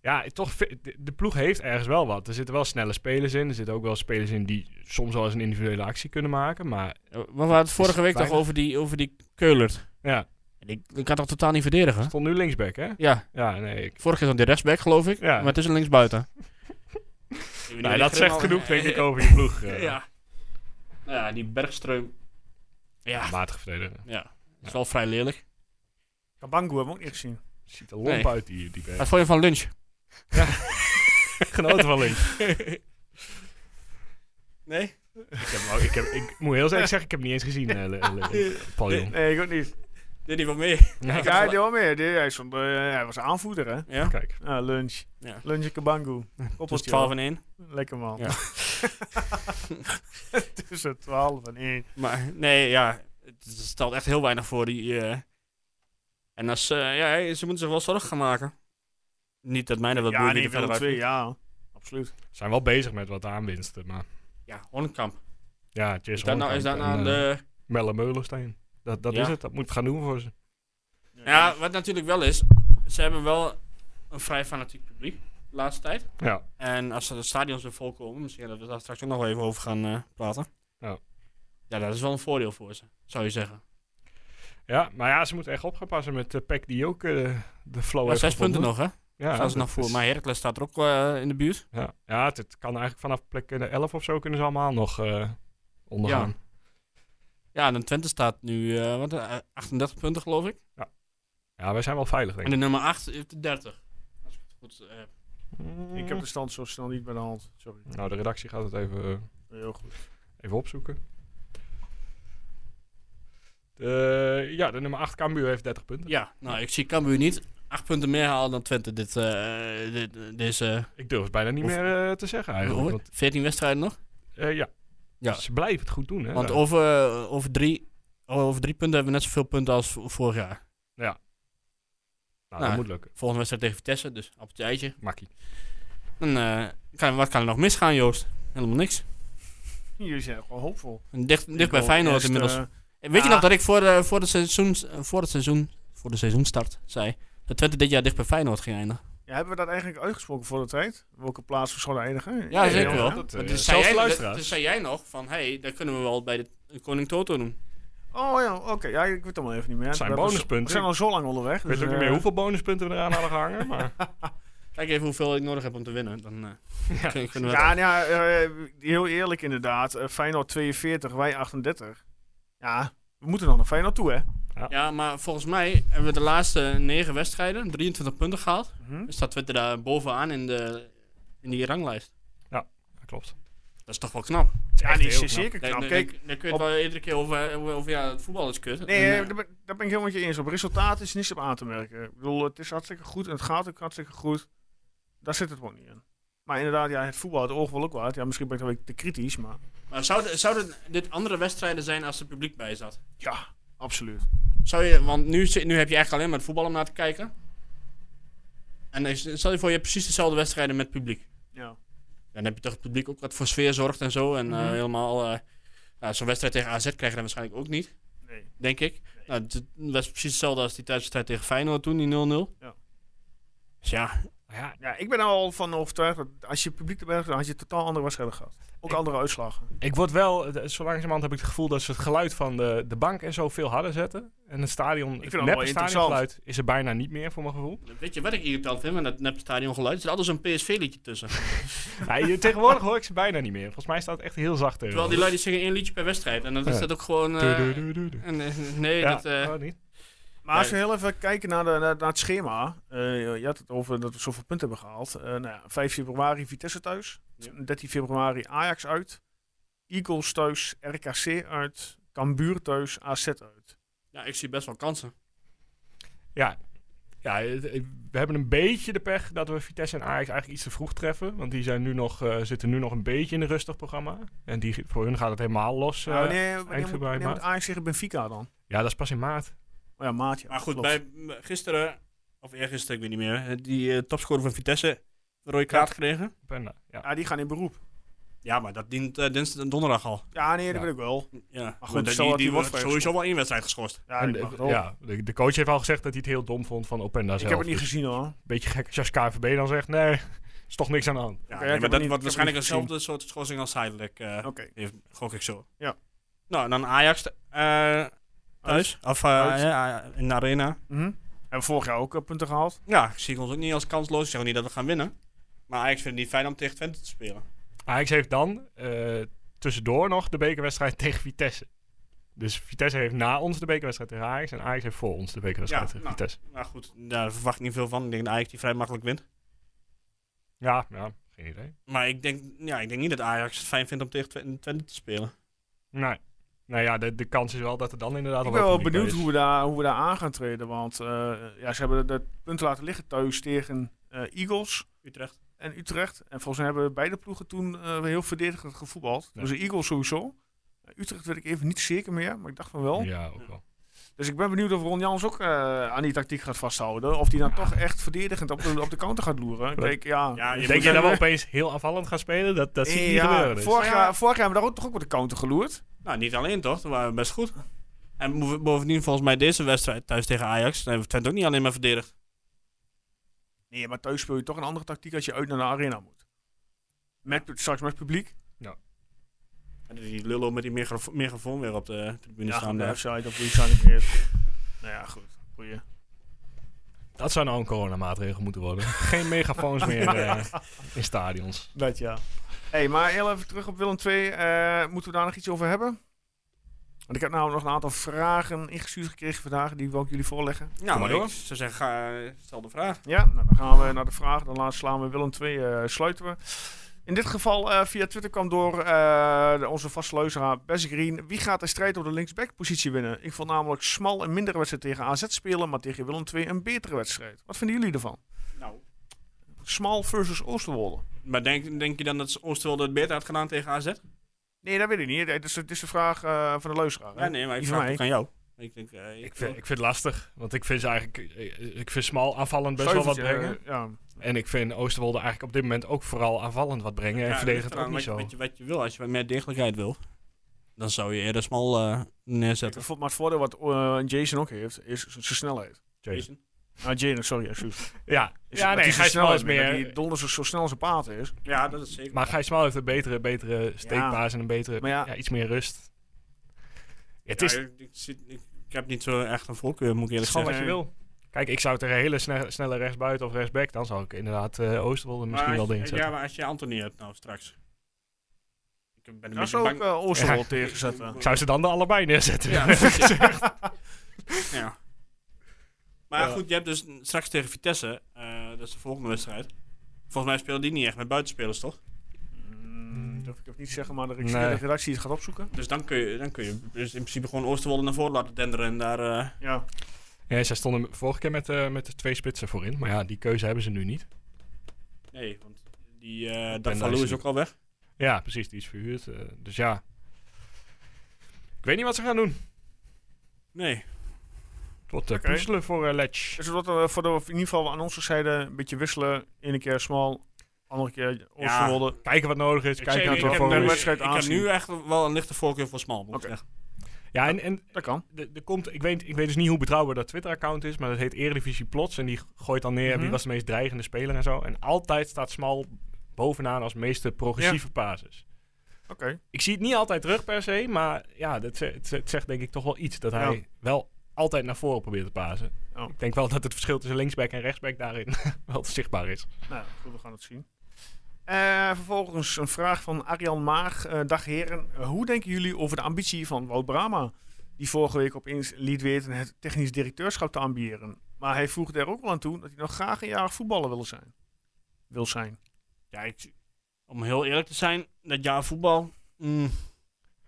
S2: Ja, toch, vi- de- de ploeg heeft ergens wel wat. Er zitten wel snelle spelers in. Er zitten ook wel spelers in die soms wel eens een individuele actie kunnen maken. Maar
S3: Eh, We hadden het vorige week toch
S2: weinig.
S3: over die, over die Keulert.
S2: ja,
S3: En Ik, ik had dat totaal niet verdedigen.
S2: stond nu linksback, hè?
S3: Ja,
S2: Ja, nee. Ik,
S3: vorige keer dan de rechtsback geloof ik.
S2: Ja.
S3: Maar het is een
S2: [laughs]
S3: linksbuiten.
S2: nou, dat zegt genoeg, denk
S3: [laughs]
S2: ik, over die ploeg. eh,
S3: Ja. Nou ja, die Bergstreum. Ja,
S2: Matig verdediger.
S3: ja. Dat is wel vrij lelijk.
S1: Kabangu hebben we ook niet gezien.
S2: Ziet er lomp
S3: Nee.
S2: uit, die, die
S3: Wat
S2: berg.
S3: vond je van lunch?
S2: Genoten van links.
S3: [laughs] Nee?
S2: ik, heb, hem ook- ik, heb, ik moet heel eerlijk zeggen, ik heb hem niet eens gezien, eh, Le- Le- Paul Jong.
S1: Nee, ik ook niet.
S3: Dit niet wat meer.
S2: Ja,
S1: Ja, hij deed wel meer. Die- Hij, stond, eh, hij was aanvoerder, hè?
S3: Ja.
S2: Kijk,
S1: Ah, lunch.
S3: Ja.
S1: Lunch en
S2: [laughs]
S1: Kabangu.
S3: Dus
S1: Koppeltje.
S3: 12 en 1.
S1: Lekker man.
S3: Ja.
S1: [laughs] Tussen 12 en 1.
S3: Maar nee, ja, het stelt echt heel weinig voor die. eh, en als, eh, ja, ze moeten zich wel zorgen gaan maken. Niet dat mij dat wat
S1: ja,
S3: boeit,
S1: nee,
S3: wie er
S1: Willem
S3: verder
S1: twee,
S3: uit-
S1: ja. Absoluut.
S2: zijn wel bezig met wat aanwinsten, maar...
S3: Ja, Hornkamp.
S2: Ja, Jess
S3: Is dat nou, is dat nou de...
S2: eh, Melle Meulensteen. Dat, dat
S3: Ja.
S2: is het, dat moet het gaan doen voor ze.
S3: Ja, wat natuurlijk wel is, ze hebben wel een vrij fanatiek publiek de laatste tijd.
S2: Ja.
S3: En als ze de stadions weer vol komen, misschien dat we daar straks ook nog wel even over gaan eh, praten.
S2: Ja. Oh,
S3: Ja, dat is wel een voordeel voor ze, zou je zeggen.
S2: Ja, maar ja, ze moeten echt op gaan passen met de Peck die ook eh, de flow
S3: Maar
S2: heeft
S3: zes punten
S2: gevonden.
S3: nog, hè?
S2: Ja,
S3: Gaan ze
S2: dat
S3: nog voor.
S2: is-
S3: Maar Heracles staat er ook eh, in de buurt.
S2: Ja, ja het, het kan eigenlijk vanaf plek eh, 11 of zo kunnen ze allemaal nog eh, ondergaan.
S3: Ja, en dan Twente staat nu eh, wat, eh, 38 punten, geloof ik.
S2: Ja. wij zijn wel veilig, denk
S3: En
S2: ik.
S3: de nummer 8 heeft de 30. Als ik het goed eh, heb.
S2: Mm.
S1: Ik heb de stand zo snel niet bij de hand. Sorry.
S2: Nou, de redactie gaat het even... eh,
S1: Heel goed.
S2: Even opzoeken. De- ja, de nummer 8 Cambuur heeft 30 punten.
S3: Ja, nou, ik zie Cambuur niet acht punten meer halen dan Twente dit, eh, dit- deze...
S2: Ik durf het bijna niet
S3: Of-
S2: meer eh, te zeggen eigenlijk.
S3: Veertien
S2: Want,
S3: 14 wedstrijden nog?
S2: eh, ja.
S3: Ja.
S2: Ze blijven het goed doen. Hè, Nou,
S3: Want
S2: daar.
S3: over, over, drie, over drie punten hebben we net zoveel punten als v- vorig jaar.
S2: nou,
S3: nou.
S2: dat moet lukken.
S3: Volgende wedstrijd tegen Vitesse, dus appeltje eitje.
S2: Makkie.
S3: Dan, eh, kan, wat kan er nog misgaan, Joost? Helemaal niks.
S1: Jullie zijn gewoon hoopvol.
S3: Dicht, dicht
S1: Ik
S3: bij
S1: hoop
S3: Feyenoord
S1: echt,
S3: inmiddels.
S1: eh,
S3: En Weet je
S1: Ah.
S3: nog dat ik voor, de, voor, de seizoens, eh, voor het seizoen, voor de seizoenstart zei dat Twente dit jaar dicht bij Feyenoord ging eindigen?
S1: ja, hebben we dat eigenlijk uitgesproken voor de tijd? Welke plaats we zouden eindigen?
S3: Ja,
S2: Nee,
S3: zeker
S2: ja,
S3: wel.
S2: dat, eh,
S3: Maar
S2: zelfs
S3: dus zei
S2: de
S3: jij, dat-
S2: luisteraars.
S3: dus zei jij nog van, hé, hey, dat kunnen we wel bij de Koning Toto doen.
S1: Oh ja, oké. Ja, ik weet het allemaal even niet meer.
S2: Het zijn
S1: We hebben
S2: bonuspunten.
S1: zo- We zijn al zo lang onderweg. dus, eh,
S2: Ik weet ook niet meer hoeveel bonuspunten we eraan hadden gehangen, maar...
S3: Kijk even hoeveel ik nodig heb om te winnen. Dan eh,
S2: Ja.
S3: kun- kunnen we
S1: Ja, nou ja eh, heel eerlijk inderdaad. Eh, Feyenoord 42, wij 38. Ja, we moeten nog naar Feyenoord toe, hè?
S3: dat- ja, maar volgens mij hebben we de laatste negen wedstrijden 23 punten gehaald.
S1: Mhm.
S3: Dus staat Twente daar bovenaan in, de, in die ranglijst.
S2: [laughs] Ja, klopt.
S3: Dat is toch wel knap.
S1: Ja,
S2: echt
S1: nee,
S2: heel
S1: is
S2: knap.
S1: zeker
S3: Daar
S1: knap.
S3: daar-
S1: Kijk,
S3: daar kun je het wel iedere keer over, over, over ja, het voetbal is kut.
S1: Nee,
S3: En,
S1: eh,
S3: eh,
S1: daar ben, daar ben ik helemaal met je eens. Op resultaat is niks op aan te merken. Ik bedoel, het is hartstikke goed en het gaat ook hartstikke goed. Daar zit het gewoon niet in. Maar inderdaad, ja, het voetbal, het oog wel ook waard. Ja, misschien ben ik dan weer te kritisch, maar
S3: Maar zouden, zouden dit andere wedstrijden zijn als er publiek bij zat?
S1: ja, absoluut.
S3: Zou je, want nu, zit- nu heb je eigenlijk alleen maar het voetbal om naar te kijken. En dan is- stel je voor, je hebt precies dezelfde wedstrijden met publiek.
S1: Ja.
S3: Dan heb je toch het publiek ook wat voor sfeer zorgt en zo. En eh,
S1: Mhm.
S3: helemaal, eh, nou, zo'n wedstrijd tegen AZ krijg je dan waarschijnlijk ook niet,
S1: Nee.
S3: denk ik. Nou, het was precies hetzelfde als die thuiswedstrijd tegen Feyenoord toen, die 0-0.
S1: Ja.
S3: Dus ja,
S2: Ja,
S1: Ja, ik ben er al van overtuigd dat als je publiek erbij had, gedaan, had je totaal andere wedstrijden gehad. Ook
S2: Ik-
S1: andere uitslagen.
S2: ik word wel, eh, zo langzamerhand heb ik het gevoel dat ze het geluid van de, de bank en zo veel harder zetten. En het stadion,
S1: vind
S2: het
S1: dat wel
S2: neppe
S1: interessant.
S2: stadiongeluid is er bijna niet meer voor mijn gevoel.
S3: weet je wat ik irritant vind met dat nepstadion geluid? Er zit altijd zo'n PSV-liedje tussen.
S2: Ja, je- tegenwoordig hoor ik ze bijna niet meer. Volgens mij staat het echt heel zacht eh. tegen.
S3: Terwijl die lui die zingen één liedje per wedstrijd. En dan is
S2: Ja.
S3: dat ook gewoon... eh, en, eh, nee,
S2: Ja,
S3: dat... eh,
S2: oh, niet.
S1: Maar als we
S3: Nee.
S1: heel even kijken naar, de, naar, naar het schema. eh, je had het over dat we zoveel punten hebben gehaald. Eh nou ja, 5 februari Vitesse thuis.
S3: Ja.
S1: 13 februari Ajax uit. Eagles thuis. RKC uit. Cambuur thuis. AZ
S2: Dus,
S1: uit.
S3: Ja, ik zie best wel kansen.
S2: Ja. Ja, het- het- we hebben een beetje de pech dat we Vitesse en Ajax eigenlijk iets te vroeg treffen. Want die zijn nu nog, eh, zitten nu nog een beetje in een rustig programma. En die, voor hun gaat het helemaal los. eh.
S1: Nou, wanneer wanneer, moet,
S2: februari,
S1: wanneer moet
S2: maart.
S1: Ajax tegen Benfica dan?
S2: Ja, dat is pas in maart.
S1: Oh ja, maatje.
S3: Maar goed, bij, m- gisteren, of eergisteren, ik weet niet meer, eh, die eh, topscorer van Vitesse, een rode kaart gekregen.
S2: Penna, ja.
S1: Ja, die gaan in beroep.
S3: Ja, maar dat dient eh, dinsdag en donderdag al.
S1: Ja, nee, dat
S2: Ja.
S1: weet ik wel.
S3: Ja. Maar
S1: goed,
S3: goed,
S1: stel
S3: die,
S1: dat
S3: die
S1: die
S3: wordt
S1: wordt
S3: sowieso wel één wedstrijd geschorst.
S1: Ja,
S2: En
S1: ik,
S2: de-
S1: mag het ook.
S2: ja, de, de coach heeft al gezegd dat hij het heel dom vond van Openda zelf.
S1: ik heb het niet
S2: Dus
S1: gezien hoor.
S2: Een beetje gek als je als KVB dan zegt, nee, is toch niks aan de hand.
S1: Oké,
S3: Ja,
S1: ik
S3: nee,
S1: heb
S3: maar
S1: het
S3: dat
S1: niet-
S3: wordt
S1: ik heb het
S3: waarschijnlijk
S1: niet gezien.
S3: hetzelfde soort schorsing als Heidelijk. eh,
S1: Oké.
S3: heeft, gok ik zo.
S1: Ja.
S3: Nou, en dan Ajax t- eh, thuis. Of eh,
S1: Uit.
S3: ja, in de arena.
S1: Mhm. Hebben we vorig jaar ook eh, punten gehaald.
S3: Ja, ik zie ons ook niet als kansloos. Ik zeg ook niet dat we gaan winnen. Maar Ajax vindt het niet fijn om tegen Twente te spelen.
S2: Ajax heeft dan eh, tussendoor nog de bekerwedstrijd [laughs] tegen Vitesse. Dus Vitesse heeft na ons de bekerwedstrijd tegen Ajax en Ajax heeft voor ons de bekerwedstrijd
S3: Ja,
S2: tegen
S3: nou.
S2: Vitesse.
S3: Maar goed, daar verwacht ik niet veel van. Ik denk dat Ajax die vrij makkelijk wint.
S2: Ja, ja, geen idee.
S3: Maar ik denk, ja, ik denk niet dat Ajax het fijn vindt om tegen Twen- Twente te spelen.
S2: Nee. Nou ja, de, de kans is wel dat er dan inderdaad
S1: Ik
S2: al
S1: ben wel
S2: publiek
S1: benieuwd
S2: is.
S1: hoe we, daar, hoe we daar aan gaan treden. Want eh, ja, ze hebben de punten laten liggen thuis tegen eh, Eagles
S3: Utrecht.
S1: en Utrecht. En volgens mij hebben beide ploegen toen eh, heel verdedigend gevoetbald.
S2: Ja.
S1: Dus de Eagles sowieso. Eh, Utrecht weet ik even niet zeker meer, maar ik dacht van wel.
S2: Ja, ook wel.
S1: Dus ik ben benieuwd of Ron Jans ook eh, aan die tactiek gaat vasthouden. Of die dan toch echt verdedigend op de, op de counter gaat loeren. Kijk, ja.
S3: Ja, je
S2: Denk
S3: moet
S2: je dat we
S3: zeggen-
S2: opeens heel aanvallend gaan spelen? Dat, dat zie ik
S1: Eh,
S2: niet
S1: ja,
S2: gebeuren. dus.
S1: vorig, jaar, vorig jaar hebben we daar ook toch ook op de counter geloerd.
S3: Nou, niet alleen toch? Dat waren we best goed. En bov- bovendien, volgens mij, deze wedstrijd thuis tegen Ajax. Dan hebben we Twente ook niet alleen maar verdedigd.
S1: Nee, maar thuis speel je toch een andere tactiek als je uit naar de arena moet. Met, straks met publiek.
S3: En die lullo met die microfo- microfoon weer op de tribune
S1: Ja,
S3: staan.
S1: de
S3: daar.
S1: website of iets aan het meer. Nou ja, goed. Goeie.
S2: Dat zou nou een coronamaatregel moeten [laughs] worden. Geen megafoons [laughs] meer eh, in stadions.
S1: Dat ja. hey, maar heel even terug op Willem 2. moeten we daar nog iets over hebben? Want ik heb nou nog een aantal vragen ingestuurd gekregen vandaag, die wil ik jullie voorleggen.
S3: Nou,
S2: maar
S3: maar
S2: door.
S3: ik zou zeggen, ga, eh, stel de vraag.
S1: Ja, nou, dan gaan we naar de vraag. Dan laat- slaan we Willem 2, eh, sluiten we. In dit geval eh, via Twitter kwam door eh, de- onze vaste luisteraar Bessie Green. Wie gaat de strijd op de linksbackpositie winnen? Ik vond namelijk Smal een mindere wedstrijd tegen AZ spelen, maar tegen Willem II een betere wedstrijd. Wat vinden jullie ervan?
S3: Nou.
S1: Smal versus Oosterwolde.
S3: Maar denk, denk je dan dat Oosterwolde het beter had gedaan tegen AZ?
S1: Nee, dat weet ik niet. Het is, het is de vraag eh, van de luisteraar. hè?
S3: Ja, nee, maar ik
S1: Die
S3: vraag
S1: van
S3: het ook
S1: mij.
S3: aan jou. Ik denk, eh,
S2: Ik vind, ik vind het lastig, want ik vind ze eigenlijk... eh, Ik vind Smal aanvallend best wel wat
S1: Stuivertje,
S2: brengen.
S1: eh, Ja.
S2: En ik vind Oosterwolde eigenlijk op dit moment ook vooral aanvallend wat brengen. en
S3: Ja, ligt
S2: verdedigend
S3: eraan
S2: ook niet
S3: wat,
S2: zo.
S3: Wat je, wat je wil, als je wat meer degelijkheid wil, dan zou je eerder smal eh, neerzetten.
S1: Ik vond- Maar het voordeel wat eh, Jason ook heeft, is zijn snelheid.
S2: Jason.
S1: Ah, Jason, sorry, excuus.
S2: Ja,
S1: Is- dat
S2: ja nee,
S1: hij zo
S2: Gijs Smal is
S1: dat
S2: meer...
S1: Die donders zo- zo snel als een paard is.
S3: Ja, dat is zeker.
S2: Maar Gijs Smal heeft een betere, betere steekbaas en een betere,
S1: Maar ja.
S2: ja, iets meer rust. Het
S3: Ja,
S2: is,
S3: ik, ik, zit- ik, ik heb niet zo echt een voorkeur, moet ik
S2: het
S3: eerlijk
S2: is gewoon
S3: zeggen.
S2: wat je wil. Kijk, ik zou tegen een hele sne- snelle rechtsbuiten of rechtsback, dan zou ik inderdaad eh Oosterwolde misschien wel
S3: Maar als-
S2: erin
S3: Ja,
S2: zetten.
S3: maar als je Anthony hebt nou straks. Ik ben een
S1: Daar
S3: beetje
S1: zou ik
S3: bang.
S1: uh, Oosterwolde
S2: Ja.
S1: tegen zetten.
S2: [laughs] Ik zou ze dan er allebei neerzetten.
S3: Ja, precies, ja. [laughs] Ja. Maar
S2: Ja.
S3: goed, je hebt dus straks tegen Vitesse, eh, dat is de volgende wedstrijd. Volgens mij speelde die niet echt met buitenspelers, toch?
S1: Mm, durf ik even niet zeggen, maar de
S2: Nee.
S1: redactie, de redactie het gaat opzoeken.
S3: Dus dan kun je, dan kun je dus in principe gewoon Oosterwolde naar voren laten denderen en daar... eh,
S1: Ja.
S2: [laughs] Ja, zij stonden vorige keer met, eh, met de twee spitsen voorin, maar ja, die keuze hebben ze nu niet.
S3: Nee, want die eh
S2: Ben
S3: Dag van Loo is
S2: Dyson.
S3: ook al weg.
S2: Ja, precies, die is verhuurd. eh, dus ja, ik weet niet wat ze gaan doen.
S3: Nee.
S2: Het wordt eh,
S1: Oké.
S2: puzzelen voor eh, Letch.
S1: Dus dat we voor de, in ieder geval aan onze zijde een beetje wisselen. Ene keer smal, andere keer Oosterwolde.
S2: Kijken wat nodig is, kijken
S1: zeg,
S3: nou
S2: wat
S1: ik
S2: er
S1: heb
S2: voor
S1: net
S2: is.
S1: met- wedstrijd
S3: ik heb
S1: aanzien.
S3: nu echt wel een lichte voorkeur voor Smal. moet ik
S1: Oké.
S3: zeggen.
S2: Ja, en, en
S1: Dat kan.
S2: de, de komt, ik, weet, ik weet dus niet hoe betrouwbaar dat Twitter-account is, maar dat heet Eredivisie Plots. En die gooit dan neer
S1: Mhm.
S2: wie was de meest dreigende speler en zo. En altijd staat Smal bovenaan als meeste progressieve basis.
S1: Oké.
S2: Ik zie het niet altijd terug per se, maar ja, dat, ze- het, ze- het zegt denk ik toch wel iets. Dat hij
S1: Ja.
S2: wel altijd naar voren probeert te pasen.
S1: Ja.
S2: Ik denk wel dat het verschil tussen linksback en rechtsback daarin [laughs] wel zichtbaar is.
S1: Nou, goed, we gaan het zien. Eh, vervolgens een vraag van Arjan Maag. Eh, dag heren, Eh, hoe denken jullie over de ambitie van Wout Brama? Die vorige week opeens liet weten het technisch directeurschap te ambiëren. Maar hij voegde er ook wel aan toe dat hij nog graag een jaar voetballer wil zijn. Wil zijn.
S3: Ja, ik, om heel eerlijk te zijn, dat jaar voetbal... mm,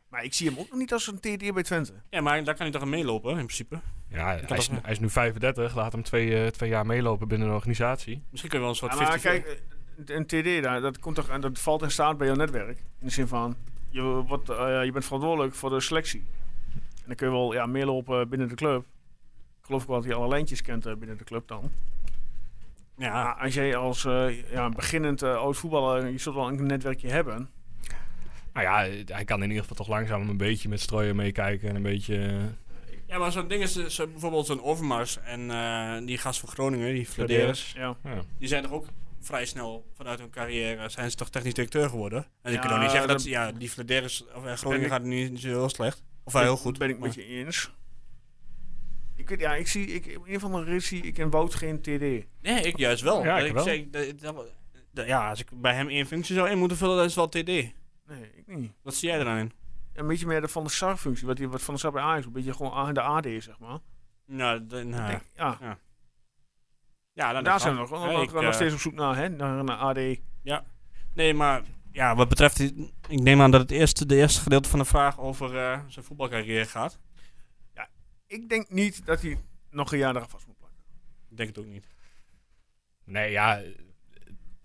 S1: Maar ik zie hem ook nog niet als een TD bij Twente.
S3: ja, maar daar kan hij toch aan meelopen, in principe.
S2: Ja,
S3: had
S2: hij is,
S3: ook-
S2: nu- hij is nu 35, laat hem twee, eh, twee jaar meelopen binnen de organisatie.
S3: Misschien kunnen we wel een
S1: Ja,
S3: soort
S1: maar
S3: 50...
S1: kijk, eh, een TD, daar, dat, komt toch, en dat valt in staat bij jouw netwerk. In de zin van, je, wordt, eh, je bent verantwoordelijk voor de selectie. En dan kun je wel ja, meelopen binnen de club. Ik geloof ook wel dat hij alle lijntjes kent eh, binnen de club dan.
S3: ja,
S1: Maar als jij als eh, ja, beginnend eh, oud voetballer, je zult wel een netwerkje hebben.
S2: Nou ja, eh, hij kan in ieder geval toch langzaam een beetje met strooien meekijken en een beetje... eh,
S3: ja, maar zo'n ding is eh, zo, bijvoorbeeld zo'n Overmars en eh, die gast van Groningen, die Fladeres.
S1: Ja.
S2: Ja.
S3: Die zijn toch ook vrij snel vanuit hun carrière zijn ze toch technisch directeur geworden. En ik
S1: Ja,
S3: kan ook niet zeggen dat
S1: dat-
S3: ze, ja, die Fladeres of eh, Groningen
S1: ik-
S3: gaat nu niet zo heel slecht. Of wel heel goed.
S1: Ben ik
S3: maar-
S1: met je eens. Ik weet, ja, ik zie, ik, in een van de reden zie ik in Wout geen TD.
S3: Nee, ik juist wel.
S2: Ja, ik
S3: ik
S2: wel.
S3: Zeg, dat- dat- dat- ja, als ik bij hem één functie zou in moeten vullen, dat is wel TD.
S1: Nee, ik niet.
S3: Wat zie jij eraan in?
S1: Een beetje meer de Van der Sar functie, wat, die, wat Van der Sar bij Ajax, een beetje gewoon A- de AD, zeg maar.
S3: Nou, d-
S2: Ah.
S3: nou,
S1: Ik- ja.
S3: ja,
S1: ah,
S3: nou, dat
S1: Daar
S3: kan.
S1: zijn we nog, nog,
S3: Ja,
S1: nog-
S3: ik,
S1: nog
S3: eh,
S1: steeds op zoek naar, hè? naar een AD.
S3: Nee, maar ja, wat betreft, die- ik neem aan dat het eerste, de eerste gedeelte van de vraag over eh, zijn voetbalcarrière gaat.
S1: Ik denk niet dat hij nog een jaar eraan vast moet plakken.
S3: Ik denk het ook niet.
S2: Nee, ja. eh,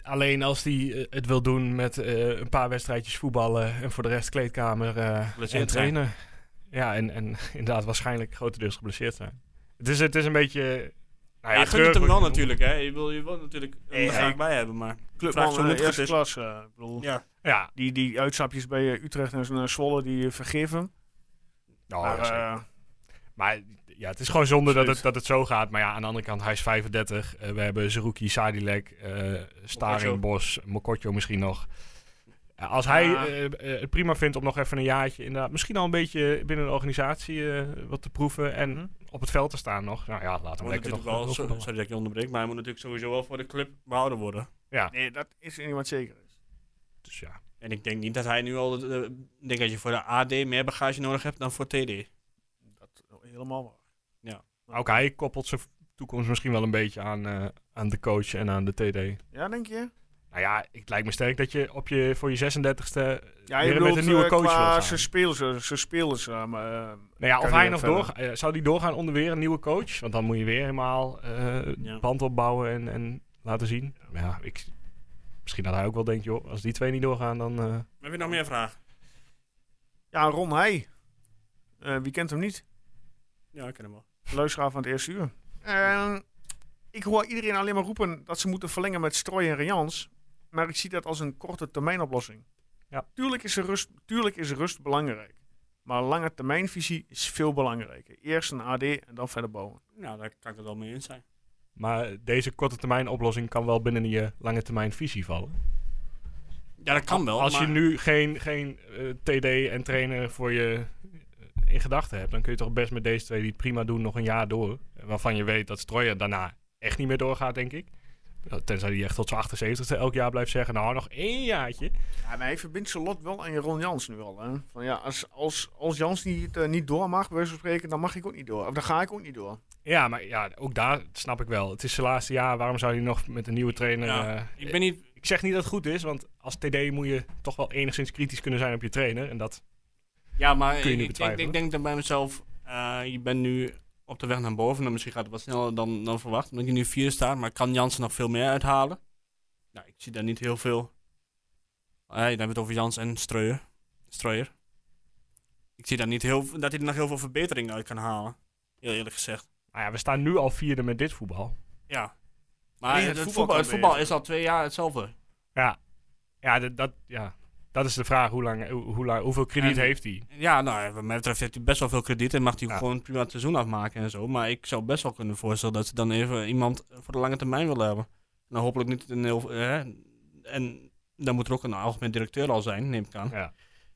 S2: Alleen als hij eh, het wil doen met eh, een paar wedstrijdjes voetballen en voor de rest kleedkamer eh, en
S3: Geblesseerd zijn.
S2: trainen. Ja, en, en [laughs] inderdaad waarschijnlijk grotendeels geblesseerd zijn. Het is, het is een beetje... Nou
S3: Ja,
S2: ja,
S3: je gunt
S2: treurig
S3: het
S2: wordt
S3: hem wel
S2: het
S3: natuurlijk, hè. Je wil, je wil natuurlijk hem
S1: Nee,
S3: er graag
S1: ik-
S3: bij hebben, maar...
S1: Clubman
S3: zo
S1: eh,
S3: nuttig het
S1: eerste
S3: is.
S1: klas. eh, ik bedoel,
S3: Ja.
S2: Ja,
S1: die, die uitstapjes bij eh, Utrecht en eh, Zwolle, die eh, vergeven hem.
S2: nou,
S1: maar,
S2: ja, zeker.
S1: eh,
S2: Maar ja, het is gewoon zonde dat
S1: Absoluut.
S2: het, dat het zo gaat. Maar ja, aan de andere kant, hij is 35. Eh, we hebben Zerouki, Sadilek, eh Staring, Bos, Mokotjo misschien nog. Ja, als hij
S1: Ja.
S2: eh, eh, het prima vindt om nog even een jaartje, inderdaad, misschien al een beetje binnen de organisatie eh, wat te proeven en
S1: Mhm.
S2: op het veld te staan nog. Nou ja, laat
S3: Hij
S2: hem
S3: moet
S2: lekker eh, nog.
S3: natuurlijk wel,
S2: nog
S3: zo-
S2: voetballen.
S3: sorry dat ik je onderbreek, maar hij moet natuurlijk sowieso wel voor de club behouden worden.
S1: nee, dat is niet wat zeker is.
S2: Dus ja.
S3: En ik denk niet dat hij nu al... eh, ik denk dat je voor de AD meer bagage nodig hebt dan voor TD.
S1: Dat is helemaal waar.
S2: Maar Ook hij koppelt zijn toekomst misschien wel een beetje aan, eh, aan de coach en aan de TD.
S1: Ja, denk je?
S2: Nou ja, het lijkt me sterk dat je, op je voor je 36e
S1: Ja,
S2: weer
S1: je
S2: met
S1: bedoelt
S2: een nieuwe
S1: eh,
S2: coach
S1: qua
S2: wil
S1: zijn
S2: gaan.
S1: spelers, eh, zijn spelers. eh, maar, eh,
S2: Nou ja,
S1: kan
S2: of
S1: hij
S2: hij
S1: nog
S2: nog
S1: verder?
S2: doorgaan. eh, Zou die doorgaan onder weer een nieuwe coach? Want dan moet je weer helemaal eh
S3: Ja.
S2: band opbouwen en, en laten zien. Ja, ik, misschien dat hij ook wel denkt, joh, als die twee niet doorgaan, dan... eh,
S3: Heb je nog meer vragen?
S1: ja, Ron Heij. Eh, wie kent hem niet?
S3: Ja, ik ken hem wel.
S1: Luisteraar van het eerste uur. Eh, ik hoor iedereen alleen maar roepen dat ze moeten verlengen met Strooi en Rians. Maar ik zie dat als een korte termijn oplossing.
S2: Ja.
S1: Tuurlijk, is er rust, tuurlijk is rust belangrijk. Maar lange termijnvisie is veel belangrijker. Eerst een AD en dan verder bouwen.
S3: Nou, daar kan ik het wel mee eens zijn.
S2: maar deze korte termijn oplossing kan wel binnen je lange termijn visie vallen.
S3: Ja, dat kan wel.
S2: als je
S3: maar-
S2: nu geen, geen eh, TD en trainer voor je eh, in gedachten hebt, dan kun je toch best met deze twee die het prima doen nog een jaar door. Waarvan je weet dat Stroyer daarna echt niet meer doorgaat, denk ik. Nou, Tenzij die echt tot zijn 78ste elk jaar blijft zeggen, nou nog één jaartje.
S1: Ja, maar hij verbindt zijn lot wel aan Ron Jans nu al. Hè? Van, ja, als, als, als Jans niet, eh, niet door mag, bij wijze van spreken, dan mag ik ook niet door. Of dan ga ik ook niet door.
S2: Ja, maar ja, ook daar snap ik wel. Het is zijn laatste jaar, waarom zou hij nog met een nieuwe trainer...
S3: Ja,
S2: eh,
S3: Ik ben niet...
S2: ik zeg niet dat het goed is, want als TD moet je toch wel enigszins kritisch kunnen zijn op je trainer. En dat,
S3: Ja, maar
S2: Kun je niet
S3: ik, ik, denk- ik
S2: betwijfelen.
S3: denk dan bij mezelf... eh, je bent nu op de weg naar boven. En misschien gaat het wat sneller dan, dan verwacht. Omdat je nu vier staat. Maar kan Jansen nog veel meer uithalen? Nou, ik zie daar niet heel veel... Hey, dan hebben we het over Jans en Streuer. Streuer. Ik zie daar niet heel... Dat hij er nog heel veel verbetering uit kan halen. Heel eerlijk gezegd.
S2: nou ja, we staan nu al vierde met dit voetbal.
S3: Ja.
S1: Nee,
S3: Maar
S1: het
S3: het,
S1: voetbal
S3: voetbal,
S1: kan
S3: het voetbal
S1: beter.
S3: is al twee jaar hetzelfde.
S2: Ja, ja, dat, dat, ja. dat is de vraag. Hoe lang, hoe, hoe lang, hoeveel krediet
S3: En-
S2: heeft hij?
S3: Ja, nou, wat mij betreft heeft hij best wel veel krediet en mag hij
S2: Ja.
S3: gewoon prima het seizoen afmaken en zo. Maar ik zou best wel kunnen voorstellen dat ze dan even iemand voor de lange termijn willen hebben. Nou, hopelijk niet een heel... eh, en dan moet er ook een algemeen directeur al zijn, neem ik aan.
S2: Ja.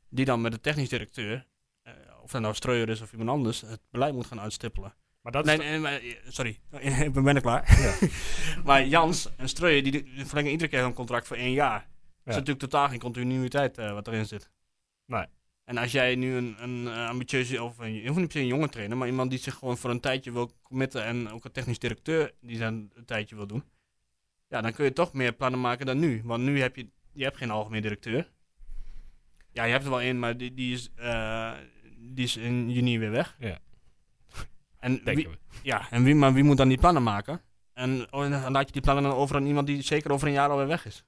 S3: Die dan met de technisch directeur, eh, of dat nou Streuer is of iemand anders, het beleid moet gaan uitstippelen.
S2: Maar dat
S3: Nee,
S2: is,
S3: nee, maar, eh, sorry, [laughs] ik ben bijna klaar. [laughs] maar Jans en Streuer, die die verlengen iedere keer hun contract voor één jaar. Er
S2: Ja.
S3: is natuurlijk totaal geen continuïteit eh, wat erin zit.
S2: Nee.
S3: En als jij nu een, een eh, ambitieuze, of een, hoeft niet per se een jonge trainer, maar iemand die zich gewoon voor een tijdje wil committen en ook een technisch directeur die zijn een tijdje wil doen, ja, dan kun je toch meer plannen maken dan nu. Want nu heb je, je hebt geen algemeen directeur. Ja, je hebt er wel één, maar die, die, is, eh, die is in juni weer weg.
S2: Ja.
S3: En wie,
S2: denken we.
S3: ja, en wie, maar wie moet dan die plannen maken? En, oh, en dan laat je die plannen dan over aan iemand die zeker over een jaar alweer weg is.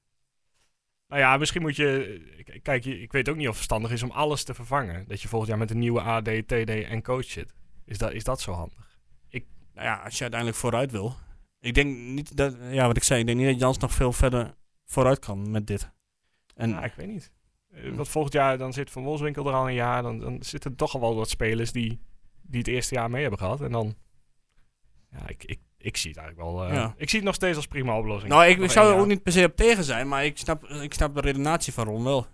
S2: Nou ja, misschien moet je... k- Kijk, je- ik weet ook niet of het verstandig is om alles te vervangen. Dat je volgend jaar met een nieuwe AD, TD en coach zit. Is dat, is dat zo handig?
S3: Nou ja, als je uiteindelijk vooruit wil. Ik denk niet dat, ja, wat ik zei, ik denk niet dat Jans nog veel verder vooruit kan met dit. En Hm.
S2: Nou, ik weet niet. Eh, Want volgend jaar dan zit Van Wolfswinkel er al een jaar. Dan, dan zitten toch al wel wat spelers die, die het eerste jaar mee hebben gehad. En dan... Ja, ik, ik, ik zie het eigenlijk wel... eh,
S3: Ja.
S2: Ik zie het nog steeds als prima oplossing.
S3: nou, ik,
S2: Nog
S3: ik zou
S2: één
S3: er ook
S2: jaar.
S3: niet per se op tegen zijn, maar ik snap, ik snap de redenatie van Ron wel.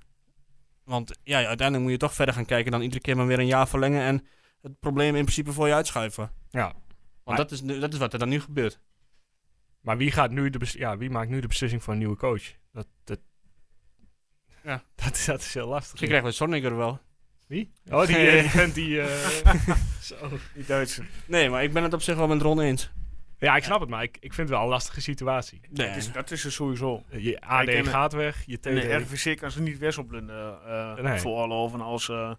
S3: Want ja, uiteindelijk moet je toch verder gaan kijken dan iedere keer maar weer een jaar verlengen en het probleem in principe voor je uitschuiven.
S2: Ja.
S3: Want dat is, nu- dat is wat er dan nu gebeurt.
S2: Maar wie, gaat nu de bes- ja, wie maakt nu de beslissing voor een nieuwe coach? Dat, dat,
S3: Ja.
S2: [laughs] dat, dat is heel lastig.
S3: Misschien krijgen we Sonniger wel.
S2: Wie? Oh,
S3: [laughs]
S2: die, eh, die vent die... eh, [laughs] zo.
S1: Die Duitse.
S3: Nee, maar ik ben het op zich wel met Ron eens.
S2: Ja, ik snap het, maar ik, ik vind het wel een lastige situatie.
S3: Nee.
S1: Dat, is, dat is er sowieso.
S2: Eh, Je AD
S1: ken het.
S2: gaat weg, je TD...
S1: En de RVC kan ze niet wisselblunden eh
S2: Nee.
S1: veroorloven als... eh,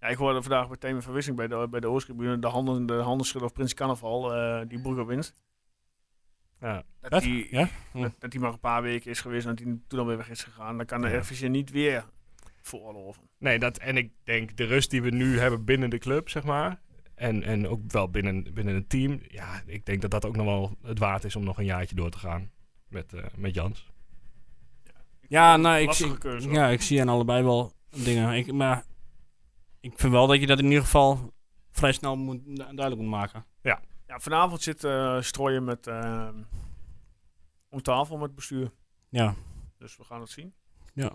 S1: ja, ik hoorde vandaag bij Thema Verwissing bij de, bij de Oosttribune de handen, de handenschudder of Prins Carnaval, eh, die Brugge wint.
S2: Ja.
S1: Dat
S3: Wat?
S1: die,
S3: Ja?
S1: dat, dat die maar een paar weken is geweest en dat die toen alweer weg is gegaan. Dan kan de
S2: Ja.
S1: RVC niet weer veroorloven.
S2: Nee, dat, en ik denk de rust die we nu hebben binnen de club, zeg maar... En, en ook wel binnen, binnen het team. Ja, ik denk dat dat ook nog wel het waard is om nog een jaartje door te gaan met, eh, met Jans.
S3: Ja, nou, ik
S1: Lastige
S3: zie,
S1: keuze, hoor.
S3: ja, ik zie aan allebei wel dingen. Ik, maar ik vind wel dat je dat in ieder geval vrij snel moet, du- duidelijk moet maken.
S1: Ja, vanavond zit eh strooien met ehm, om tafel met het bestuur.
S3: Ja,
S1: Dus we gaan het zien.
S3: ja.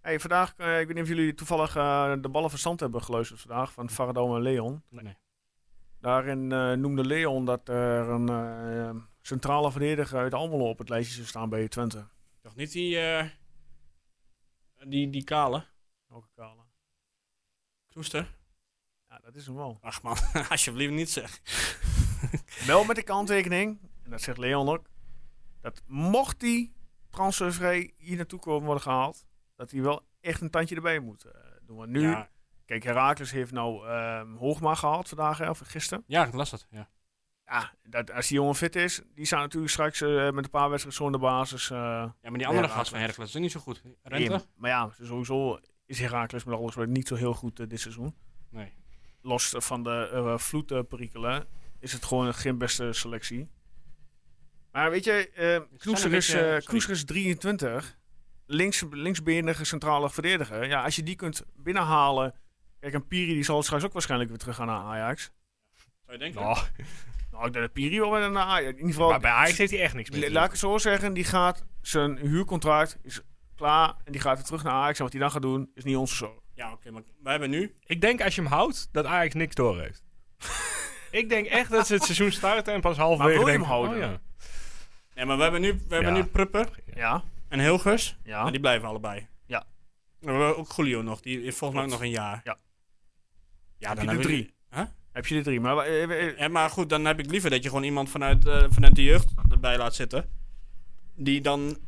S1: Hey, vandaag, eh, ik weet niet of jullie toevallig eh, de ballen verstand hebben geluisterd vandaag van Faradome en Leon.
S3: Nee.
S1: Daarin eh, noemde Leon dat er een eh, centrale verdediger uit Almelo op het lijstje zou staan bij Twente.
S3: Toch niet die, eh, die, die kale
S1: Welke kale?
S3: kroester?
S1: Ja, dat is hem wel.
S3: Ach man, [laughs] alsjeblieft niet zeg.
S1: Wel met de kanttekening, en dat zegt Leon ook, dat mocht hij transfervrij hier naartoe komen worden gehaald, dat hij wel echt een tandje erbij moet eh, doen. Want nu,
S3: Ja,
S1: kijk, Herakles heeft nou ehm Hoogma gehaald vandaag, hè, of gisteren.
S3: ja, ik las dat. Ja.
S1: Ja, dat, als die jongen fit is, die zou natuurlijk straks eh, met een paar wedstrijden zonder basis... eh,
S3: ja, maar die andere
S1: Ja,
S3: gast van
S1: Heracles.
S3: Heracles is ook niet zo goed.
S1: in.
S3: Rente?
S1: Ehm, Maar ja, sowieso is Herakles met alles niet zo heel goed eh, dit seizoen.
S3: Nee.
S1: Los van de eh vloedperikelen is het gewoon geen beste selectie. Maar weet je, eh Kroeser
S3: een
S1: is,
S3: beetje-
S1: eh,
S3: sorry.
S1: Kroeser is 23. Links, linksbenige centrale verdediger. Ja, als je die kunt binnenhalen... Kijk, een Piri die zal straks ook waarschijnlijk weer terug gaan naar Ajax.
S3: Zou je denken?
S2: Nou,
S1: Nou, ik denk dat Piri wel weer naar Ajax... In ieder geval,
S2: maar bij Ajax heeft hij echt niks meer. te
S1: La-
S2: doen.
S1: Laat ik het zo zeggen, die gaat zijn huurcontract is klaar en die gaat weer terug naar Ajax. En wat hij dan gaat doen, is niet onze zorg.
S3: Ja, oké, maar wij hebben nu...
S2: Ik denk als je hem houdt, dat Ajax niks door heeft. ik denk echt dat ze het seizoen starten en pas halverwege
S1: Maar wil je
S2: denken,
S1: hem houden?
S2: oh ja.
S3: Nee, maar we hebben nu, we hebben
S2: Ja.
S3: nu Prupper
S1: Ja,
S3: en Hilgers.
S1: ja.
S3: Maar die blijven allebei.
S1: Ja.
S3: En we hebben ook Julio nog. Die heeft volgens mij ook
S1: Klopt.
S3: nog een jaar.
S1: Ja.
S3: Ja,
S1: Heb
S3: dan
S1: je
S3: heb
S1: er
S3: ik-
S1: drie? Heb je de drie? Maar, eh, eh, eh,
S3: Ja, maar goed, dan heb ik liever dat je gewoon iemand vanuit, eh, vanuit de jeugd erbij laat zitten. Die dan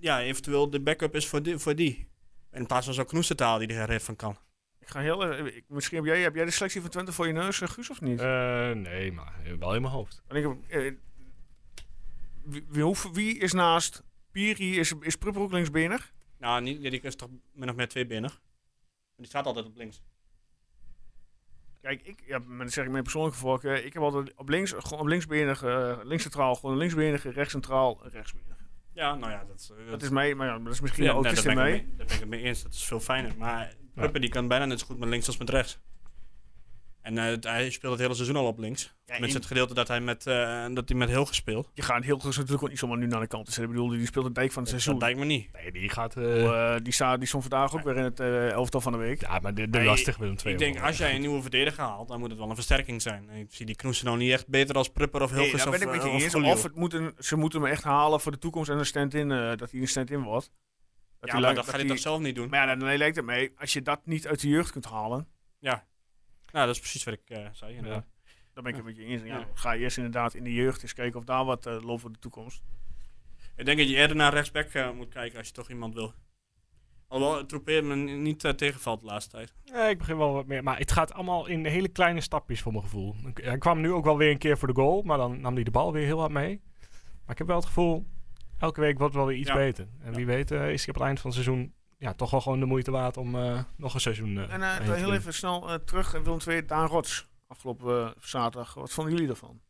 S3: ja, eventueel de backup is voor die. Voor die. In plaats van zo'n knoestertaal die er red van kan.
S1: ik ga heel, eh, ik- misschien heb jij, heb jij de selectie van Twente voor je neus, eh, Guus, of niet?
S2: Eh, nee, maar wel in mijn hoofd.
S1: Want ik, heb, eh, wie, wie, hoeven- wie is naast Piri, is, is Prupper ook linksbenig?
S3: Nou, niet, ja, die is toch min of meer tweebenig. Die staat altijd op links.
S1: Kijk, ik, ja, maar dat zeg ik mijn persoonlijke voorkeur. Eh, Ik heb altijd op links, gewoon op linksbenig, eh, links centraal, gewoon een linksbenige, rechts centraal, rechtsbenig.
S3: Ja, nou ja, dat, is- dat
S1: Dat is mij, maar ja, nou, dat is misschien
S3: Ja,
S1: de
S3: nee, daar
S1: autist
S3: ben
S1: in
S3: ik het
S1: mij.
S3: mee- daar ben ik het mee eens. Dat is veel fijner. Maar Pupper die kan bijna net zo goed met links als met rechts. En eh, het- hij speelt het hele seizoen al op links.
S1: Ja,
S3: met
S1: in-
S3: het gedeelde dat hij met, eh dat hij met heel gespeeld.
S1: Je gaat heel goed natuurlijk ook niet zomaar nu naar de kant. Dus ik bedoel, die speelt de dijk van het seizoen.
S3: Dat lijkt me niet.
S2: Nee, die gaat... eh,
S1: Eh, die, staat, die stond vandaag ook weer in het eh, elftal van de week.
S2: ja, maar de, de
S3: Nee,
S2: lastig met hem twee.
S3: Ik denk, als jij een nieuwe verdediger haalt, dan moet het wel een versterking zijn. En Ik zie die Knoesen nou niet echt beter als Prupper of
S1: Nee,
S3: Hilgers
S1: daar ben ik
S3: of,
S1: met je
S3: eh, of
S1: eens.
S3: Julio.
S1: Of het moet een, ze moeten hem echt halen voor de toekomst en een stand-in. eh, dat hij een stand-in wordt. Dat
S3: Ja,
S1: hij
S3: maar
S1: leuk-
S3: dat ga
S1: dat
S3: je
S1: hij-
S3: toch zelf niet doen?
S1: Maar ja, dan lijkt het mee. Als je dat niet uit de jeugd kunt halen,
S3: Nou, dat is precies wat ik eh, zei. inderdaad.
S1: dan ben ik het met je eens. Ja,
S3: Ja.
S1: dan ga je eerst inderdaad in de jeugd eens kijken of daar wat eh, loopt voor de toekomst.
S3: Ik denk dat je eerder naar rechtsback eh, moet kijken als je toch iemand wil. Alhoewel, Troepeer me niet eh, tegenvalt de laatste tijd.
S2: Nee, ik begin wel wat meer. Maar het gaat allemaal in hele kleine stapjes voor mijn gevoel. Ik- Hij kwam nu ook wel weer een keer voor de goal, maar dan nam hij de bal weer heel hard mee. Maar ik heb wel het gevoel, elke week wordt wel weer iets
S3: Ja.
S2: beter. En
S3: Ja.
S2: wie weet eh, is hij op het eind van het seizoen ja, toch wel gewoon de moeite waard om eh, nog een seizoen eh,
S1: En eh,
S2: heen te
S1: heel
S2: doen.
S1: even snel eh, terug. eh, Willem II, Daan Rots. Afgelopen eh, zaterdag. Wat vonden jullie ervan?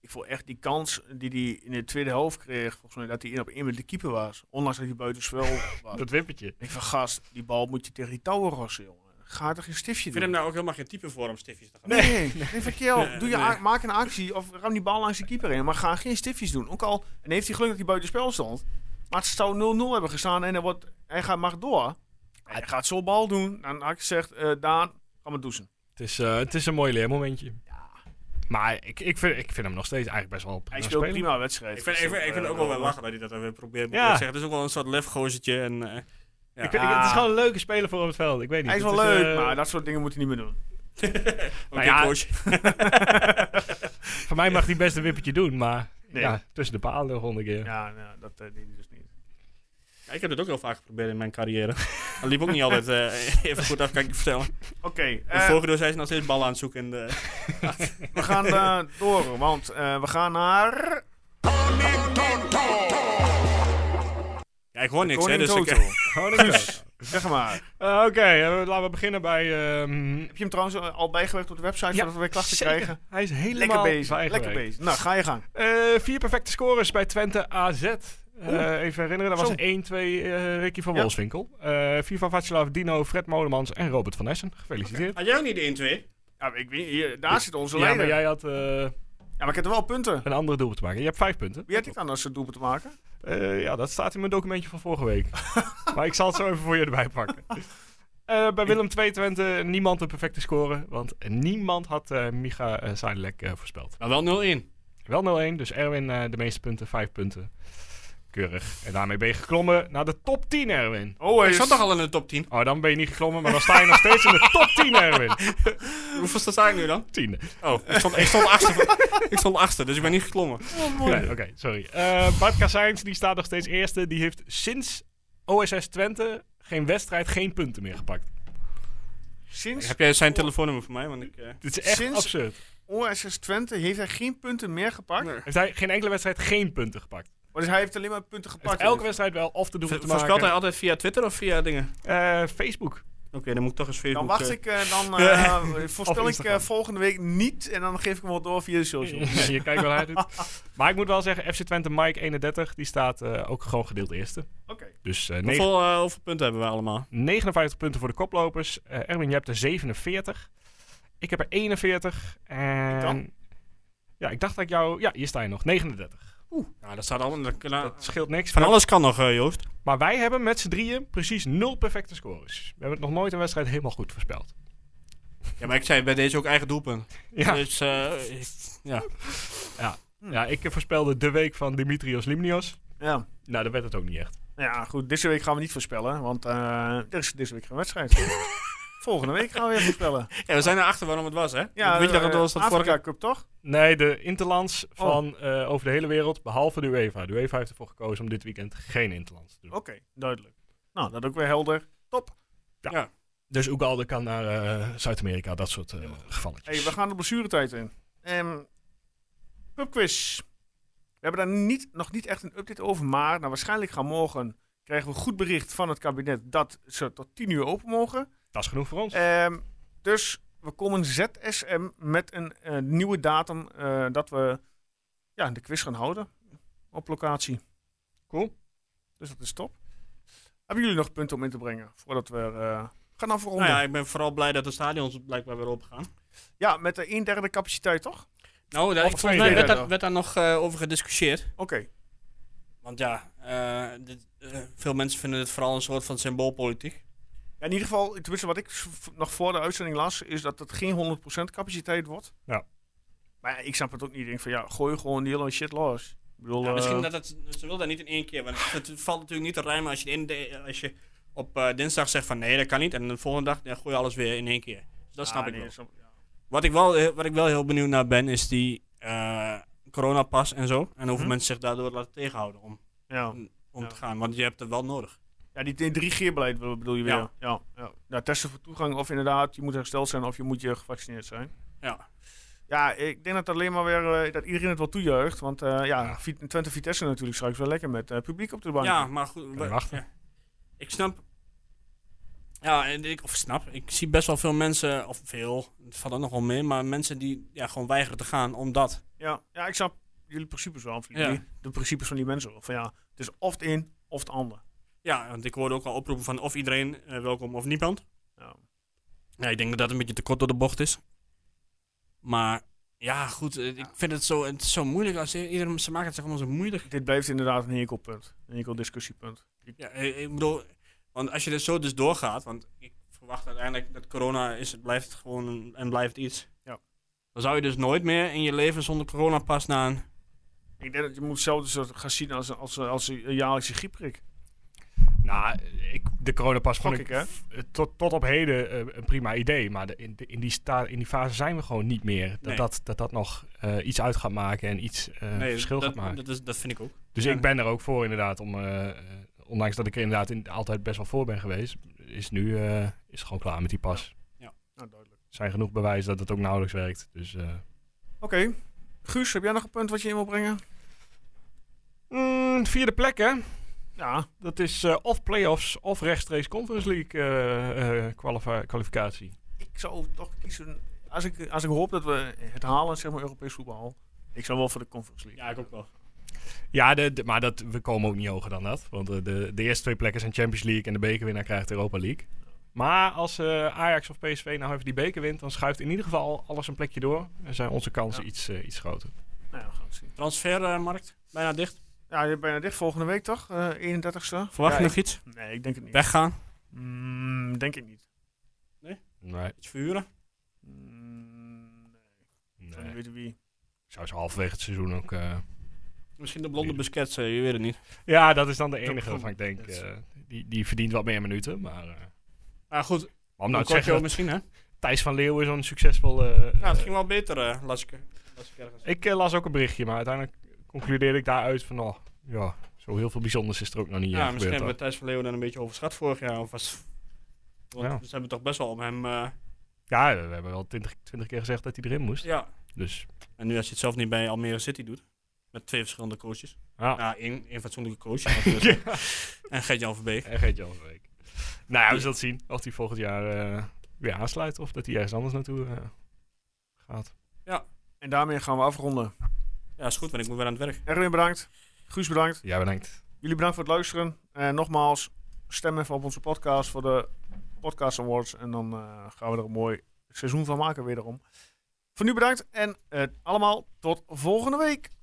S1: Ik vond echt die kans die hij in de tweede helft kreeg. Volgens mij dat hij in op in met de keeper was. Ondanks dat hij
S3: [laughs]
S1: buitenspel was.
S2: Dat wippertje.
S1: Ik van gast, die bal moet je tegen die touwen rossen, jongen. Ga toch geen stiftje
S3: Ik vind
S1: doen?
S3: hem nou ook helemaal geen type voor om stiftjes te gaan
S1: Nee, nee, verkeer.
S3: Nee,
S1: Doe je
S3: nee.
S1: a- Maak een actie of ram die bal langs de keeper in. Maar ga geen stiftjes doen. Ook al en heeft hij geluk dat hij buitenspel stond. Maar het zou 0-0 hebben gestaan en hij, wordt, hij gaat, mag door. Hij gaat zo bal doen. En dan had ik gezegd, eh, Daan, ga maar douchen.
S2: Het is, eh, het is een mooi leermomentje. Maar ik, ik, vind, ik vind hem nog steeds eigenlijk best wel prima
S1: Hij speelt
S2: spelen.
S1: prima wedstrijd.
S3: Ik vind, ik, vind, ik vind het ook wel wel
S1: lachen.
S3: lachen dat hij dat dan weer probeert. moet
S2: Ja.
S3: ik zeggen. Het is ook wel een soort lefgozertje. En, eh, ja.
S2: Ik vind- ik- het is gewoon een leuke speler voor op het veld. Ik weet niet.
S1: Hij is wel
S2: het
S1: leuk,
S2: eh,
S1: maar dat soort dingen moet hij niet meer doen.
S3: Oké,
S2: nou ja,
S3: [laughs] coach.
S2: Voor mij mag hij best een wippertje doen, maar
S1: Nee.
S2: ja, tussen de palen de volgende keer.
S1: Ja, nou, dat eh, deed hij dus niet.
S3: Ja, ik heb het ook heel vaak geprobeerd in mijn carrière. Dat liep ook niet altijd eh, [laughs] even goed af, kan ik je vertellen.
S1: Oké,
S3: En
S1: eh,
S3: vorige door zijn ze nog steeds ballen aan het zoeken. In de...
S1: we gaan eh, door, want eh, we gaan naar...
S3: Ja, ik hoor niks, hè.
S1: Koning
S3: Dus ik,
S1: Toto. [laughs]
S3: eh,
S1: Guus, zeg maar.
S2: Eh, Oké, eh, laten we beginnen bij... ehm,
S1: Heb je hem trouwens eh, al bijgewerkt op de website voordat we weer klachten
S2: zeker.
S1: krijgen?
S2: Hij is
S1: Lekker
S2: helemaal
S1: bezig,
S2: bijgewerkt.
S1: lekker bezig. Nou, ga je gang.
S2: Eh, vier perfecte scores bij Twente AZ. Eh, even herinneren, dat
S1: Zo.
S2: was 1-2 eh Ricky van
S1: Ja.
S2: Wolfswinkel. Eh, vier van Vatslav, Dino, Fred Molemans en Robert van Essen. Gefeliciteerd.
S3: [laughs] Had jij ook niet de 1-2?
S1: Ja, maar ik weet, hier, daar zit onze
S2: Ja,
S1: leider.
S2: maar
S1: Ja,
S2: jij had eh,
S1: maar ik heb er wel punten.
S2: een andere doel te maken. Je hebt vijf punten.
S1: Wie had ik dan als het doelpunt te maken?
S2: Eh, ja, dat staat in mijn documentje van vorige week. maar ik zal het zo even voor je erbij pakken. Eh, bij Willem 2 Twente niemand een perfecte score. Want niemand had eh, Micha eh Seidelijk, eh, voorspeld.
S3: Nou, wel 0-1.
S2: Wel 0-1, dus Erwin eh, de meeste punten, 5 punten. Keurig. En daarmee ben je geklommen naar de top 10, Erwin.
S1: Oh,
S3: Ik zat toch al in de top [laughs] 10?
S2: Oh, dan ben je niet geklommen, maar dan sta je nog steeds in de top 10, Erwin.
S3: Hoeveel sta ik nu dan?
S2: Tiende.
S3: Oh, ik stond, ik stond achter. [laughs] ik stond achter, dus ik ben niet geklommen.
S2: Nee, Oké, sorry. Eh, Bart Kassijns, die staat nog steeds eerste. Die heeft sinds OSS Twente geen wedstrijd, geen punten meer gepakt.
S1: Sinds
S3: Heb jij zijn telefoonnummer voor mij? Want ik, eh,
S2: Dit is echt
S1: Sinds-
S2: absurd.
S1: OSS Twente heeft hij geen punten meer gepakt.
S3: Nee.
S2: Heeft hij geen enkele wedstrijd geen punten gepakt?
S1: Maar dus hij heeft alleen maar punten gepakt.
S2: Heeft elke wedstrijd wel of te doen
S3: Vo-
S2: te
S3: Voorspelt hij
S2: maken.
S3: altijd via Twitter of via dingen?
S2: Eh, Facebook.
S3: Oké, dan moet ik toch eens Facebook...
S1: dan wacht
S3: eh,
S1: ik, eh, dan
S3: Ja.
S1: eh, voorspel
S2: Of
S1: ik eh,
S2: Instagram.
S1: volgende week niet en dan geef ik hem wel door via de social.
S2: je kijkt wel hij doet. Maar ik moet wel zeggen, FC Twente Mike 31, die staat eh, ook gewoon gedeeld eerste.
S1: Oké.
S2: Dus eh, negen-
S3: Hoeveel, eh, hoeveel punten hebben we allemaal?
S2: 59 punten voor de koplopers. Eh, Erwin, je hebt er 47. Ik heb er 41. En...
S1: dan?
S2: Ja, ik dacht dat ik jou... Ja, hier sta je nog. 39.
S3: Nou, dat staat allemaal... dat-
S1: Oh.
S2: Dat scheelt niks.
S3: van
S2: maar,
S3: alles kan nog, eh, Joost.
S2: maar wij hebben met z'n drieën precies nul perfecte scores. We hebben het nog nooit een wedstrijd helemaal goed voorspeld.
S3: Ja, maar ik zei bij deze ook eigen doelpunt.
S2: Ja,
S3: Dus, eh, ik- ja.
S2: ja ik voorspelde de week van Dimitrios Limnios.
S1: Ja.
S2: Nou, dat werd het ook niet echt.
S1: ja, goed. Deze week gaan we niet voorspellen, want eh, er is deze week geen wedstrijd. volgende week gaan we weer voorspellen.
S3: ja, we zijn erachter waarom het was, hè?
S1: Ja,
S3: Weet je dat
S1: eh,
S3: het was dat vorige...
S1: Afrika Cup toch?
S2: Nee, de Interlands
S1: Oh.
S2: van eh, over de hele wereld, behalve de UEFA. De UEFA heeft ervoor gekozen om dit weekend geen Interlands te doen.
S1: Oké, duidelijk. Nou, dat ook weer helder.
S2: Dus Ugalde kan naar eh, Zuid-Amerika, dat soort eh, gevallen.
S1: Hey, we gaan de blessuretijd in. Ehm pubquiz. We hebben daar niet, nog niet echt een update over, maar nou, waarschijnlijk gaan morgen krijgen we goed bericht van het kabinet dat ze tot 10 uur open mogen.
S2: Dat is genoeg voor ons.
S1: Ehm, dus we komen ZSM met een eh, nieuwe datum eh, dat we ja, de quiz gaan houden op locatie.
S2: Cool.
S1: Dus dat is top. Hebben jullie nog punten om in te brengen voordat we eh, gaan
S3: Nou
S1: afronden?
S3: ja,
S1: ja.
S3: ik ben vooral blij dat de stadions blijkbaar weer opgaan.
S1: met de 1 derde capaciteit toch?
S3: Nou, daar,
S2: Of
S3: ik-
S2: twee
S3: volgens mij werd
S1: derde.
S3: daar, werd daar nog eh, over gediscussieerd.
S1: Oké.
S3: Want ja, eh, dit, eh, veel mensen vinden het vooral een soort van symboolpolitiek.
S1: Ja, in ieder geval, tenminste wat ik v- v- nog voor de uitzending las, is dat het geen 100% capaciteit wordt.
S2: Ja.
S1: Maar ja, ik snap het ook niet. Ik denk van ja, gooi gewoon die hele shit los. Ik bedoel,
S3: Ja,
S1: eh,
S3: misschien dat het, ze wil dat niet in één keer. Want het valt natuurlijk niet te rijmen als je, in de, als je op eh, dinsdag zegt van nee, dat kan niet. En de volgende dag ja, gooi je alles weer in één keer. Dus dat
S1: ah,
S3: snap ik
S1: nee,
S3: wel.
S1: snap- ja.
S3: Wat ik wel, eh, wat ik wel heel benieuwd naar ben, is die eh, coronapas en zo. En hoeveel
S1: Mhm.
S3: mensen zich daardoor laten tegenhouden om,
S1: Ja.
S3: om
S1: Ja.
S3: te gaan. Want je hebt het wel nodig.
S1: ja, die 3G-beleid bedoel je weer. Ja.
S3: Ja.
S1: Ja, Ja, testen voor toegang of inderdaad, je moet hersteld zijn of je moet je gevaccineerd zijn.
S3: Ja.
S1: Ja, ik denk dat alleen maar weer, eh, dat iedereen het wel toejuicht. Want eh, ja, Vi- Twente Vitesse natuurlijk straks wel lekker met eh, publiek op de bank.
S3: Ja, maar goed.
S2: je
S3: wa-
S2: wachten.
S3: ja. Ik snap. Ja, en ik, of snap. Ik zie best wel veel mensen, of veel, het valt ook nog wel mee, maar mensen die ja, gewoon weigeren te gaan omdat.
S1: Ja, ja ik snap jullie principes wel. Of
S3: Ja.
S1: die- de principes van die mensen wel. Van ja, het is of het een of het ander.
S3: Ja, want ik hoorde ook al oproepen van of iedereen eh, welkom of niemand.
S1: Ja.
S3: Ja, ik denk dat dat een beetje te kort door de bocht is. Maar ja, goed, eh, ik vind het zo, het is zo moeilijk. Als i- iedereen, ze maken het zich allemaal zo moeilijk.
S1: Dit blijft inderdaad een hekelpunt. Een hekel discussiepunt.
S3: Ja, eh, ik bedoel, want als je er zo dus doorgaat, want ik verwacht uiteindelijk dat corona is, het blijft gewoon een- en blijft iets.
S1: Ja.
S3: Dan zou je dus nooit meer in je leven zonder coronapas naar een...
S1: Ik denk dat je moet hetzelfde soort gaan zien als, als, als een jaarlijkse griepprik.
S2: Nou, ik, de coronapas
S1: Gok
S2: vond
S1: ik,
S2: ik
S1: hè?
S2: eh, tot, tot op heden eh, een prima idee. Maar de, in, de- in, die sta, in die fase zijn we gewoon niet meer. Dat
S3: Nee.
S2: dat, dat, dat nog eh, iets uit gaat maken en iets eh, verschil
S3: dat,
S2: gaat maken.
S3: Dat, is, dat vind ik ook.
S2: dus
S3: ja.
S2: ik ben er ook voor inderdaad. Om, eh, eh, ondanks dat ik er inderdaad in, altijd best wel voor ben geweest, is nu eh, is het gewoon klaar met die pas.
S1: Nou, duidelijk.
S2: Er zijn genoeg bewijzen dat het ook nauwelijks werkt. Dus, eh,
S1: Oké. Guus, heb jij nog een punt wat je in wil brengen?
S2: mm, vierde plek, hè?
S1: Ja.
S2: Dat is eh, of playoffs of rechtstreeks Conference League eh, eh, kwalifi- kwalificatie.
S1: Ik zou toch kiezen... Als ik, als ik hoop dat we het halen, zeg maar, Europees voetbal. Ik zou wel voor de Conference League.
S3: Ja, ik ook wel.
S2: Ja, de, de- maar dat, we komen ook niet hoger dan dat. Want eh, de, de eerste twee plekken zijn Champions League en de bekerwinnaar krijgt Europa League. Maar als eh, Ajax of PSV nou even die beker wint, dan schuift in ieder geval alles een plekje door. En zijn onze kansen
S1: Ja.
S2: iets, eh, iets groter.
S1: Nou ja, we gaan het zien.
S3: Transfermarkt, bijna dicht.
S1: Ja, je bent bijna dicht volgende week, toch? Eh, 31ste?
S3: Verwacht
S1: Ja,
S3: je
S1: ik-
S3: nog iets?
S1: Nee, ik denk het niet.
S3: Weggaan?
S1: Mm, denk ik niet.
S2: Nee,
S3: Iets verhuren?
S1: Mm, nee, ik zou niet
S2: nee.
S1: weten wie.
S2: Ik zou ze halverwege het seizoen ook eh,
S3: Oké. Misschien de blonde Busquets, eh, je weet het niet.
S2: Ja, dat is dan de enige waarvan ik denk,
S3: Yes.
S2: eh, die, die verdient wat meer minuten. Maar eh,
S3: Maar goed,
S2: om nou
S3: nou,
S2: te zeggen dat
S3: misschien hè.
S2: Thijs van Leeuwen zo'n succesvol... eh,
S3: Ja, het
S2: eh,
S3: ging wel beter, eh, las ik. las ik ergens.
S2: ik eh, las ook een berichtje, maar uiteindelijk concludeerde ik daaruit van... Oh, ja, zo heel veel bijzonders is er ook nog niet eh,
S3: Ja, misschien
S2: gebeurd.
S3: hebben we
S2: hoor.
S3: Thijs van Leeuwen dan een beetje overschat vorig jaar. Of was, want
S2: Ja.
S3: ze hebben toch best wel om hem... eh,
S2: Ja, we hebben wel twintig, twintig keer gezegd dat hij erin moest.
S3: ja.
S2: Dus
S3: En nu als je het zelf niet bij Almere City doet. Met twee verschillende coaches.
S2: ja,
S3: Nou, één, één fatsoenlijke coach. natuurlijk. En Gert-Jan Verbeek.
S2: en geet je week. Nou ja, we zullen zien of hij volgend jaar eh, weer aansluit of dat hij ergens anders naartoe eh, gaat.
S1: En daarmee gaan we afronden.
S3: Ja, is goed, want ik moet weer aan het werk.
S1: Erwin bedankt. Guus bedankt.
S2: Jij bedankt.
S1: Jullie bedankt voor het luisteren. En nogmaals, stem even op onze podcast voor de Podcast Awards. En dan eh, gaan we er een mooi seizoen van maken, wederom. Voor nu bedankt en eh, allemaal tot volgende week.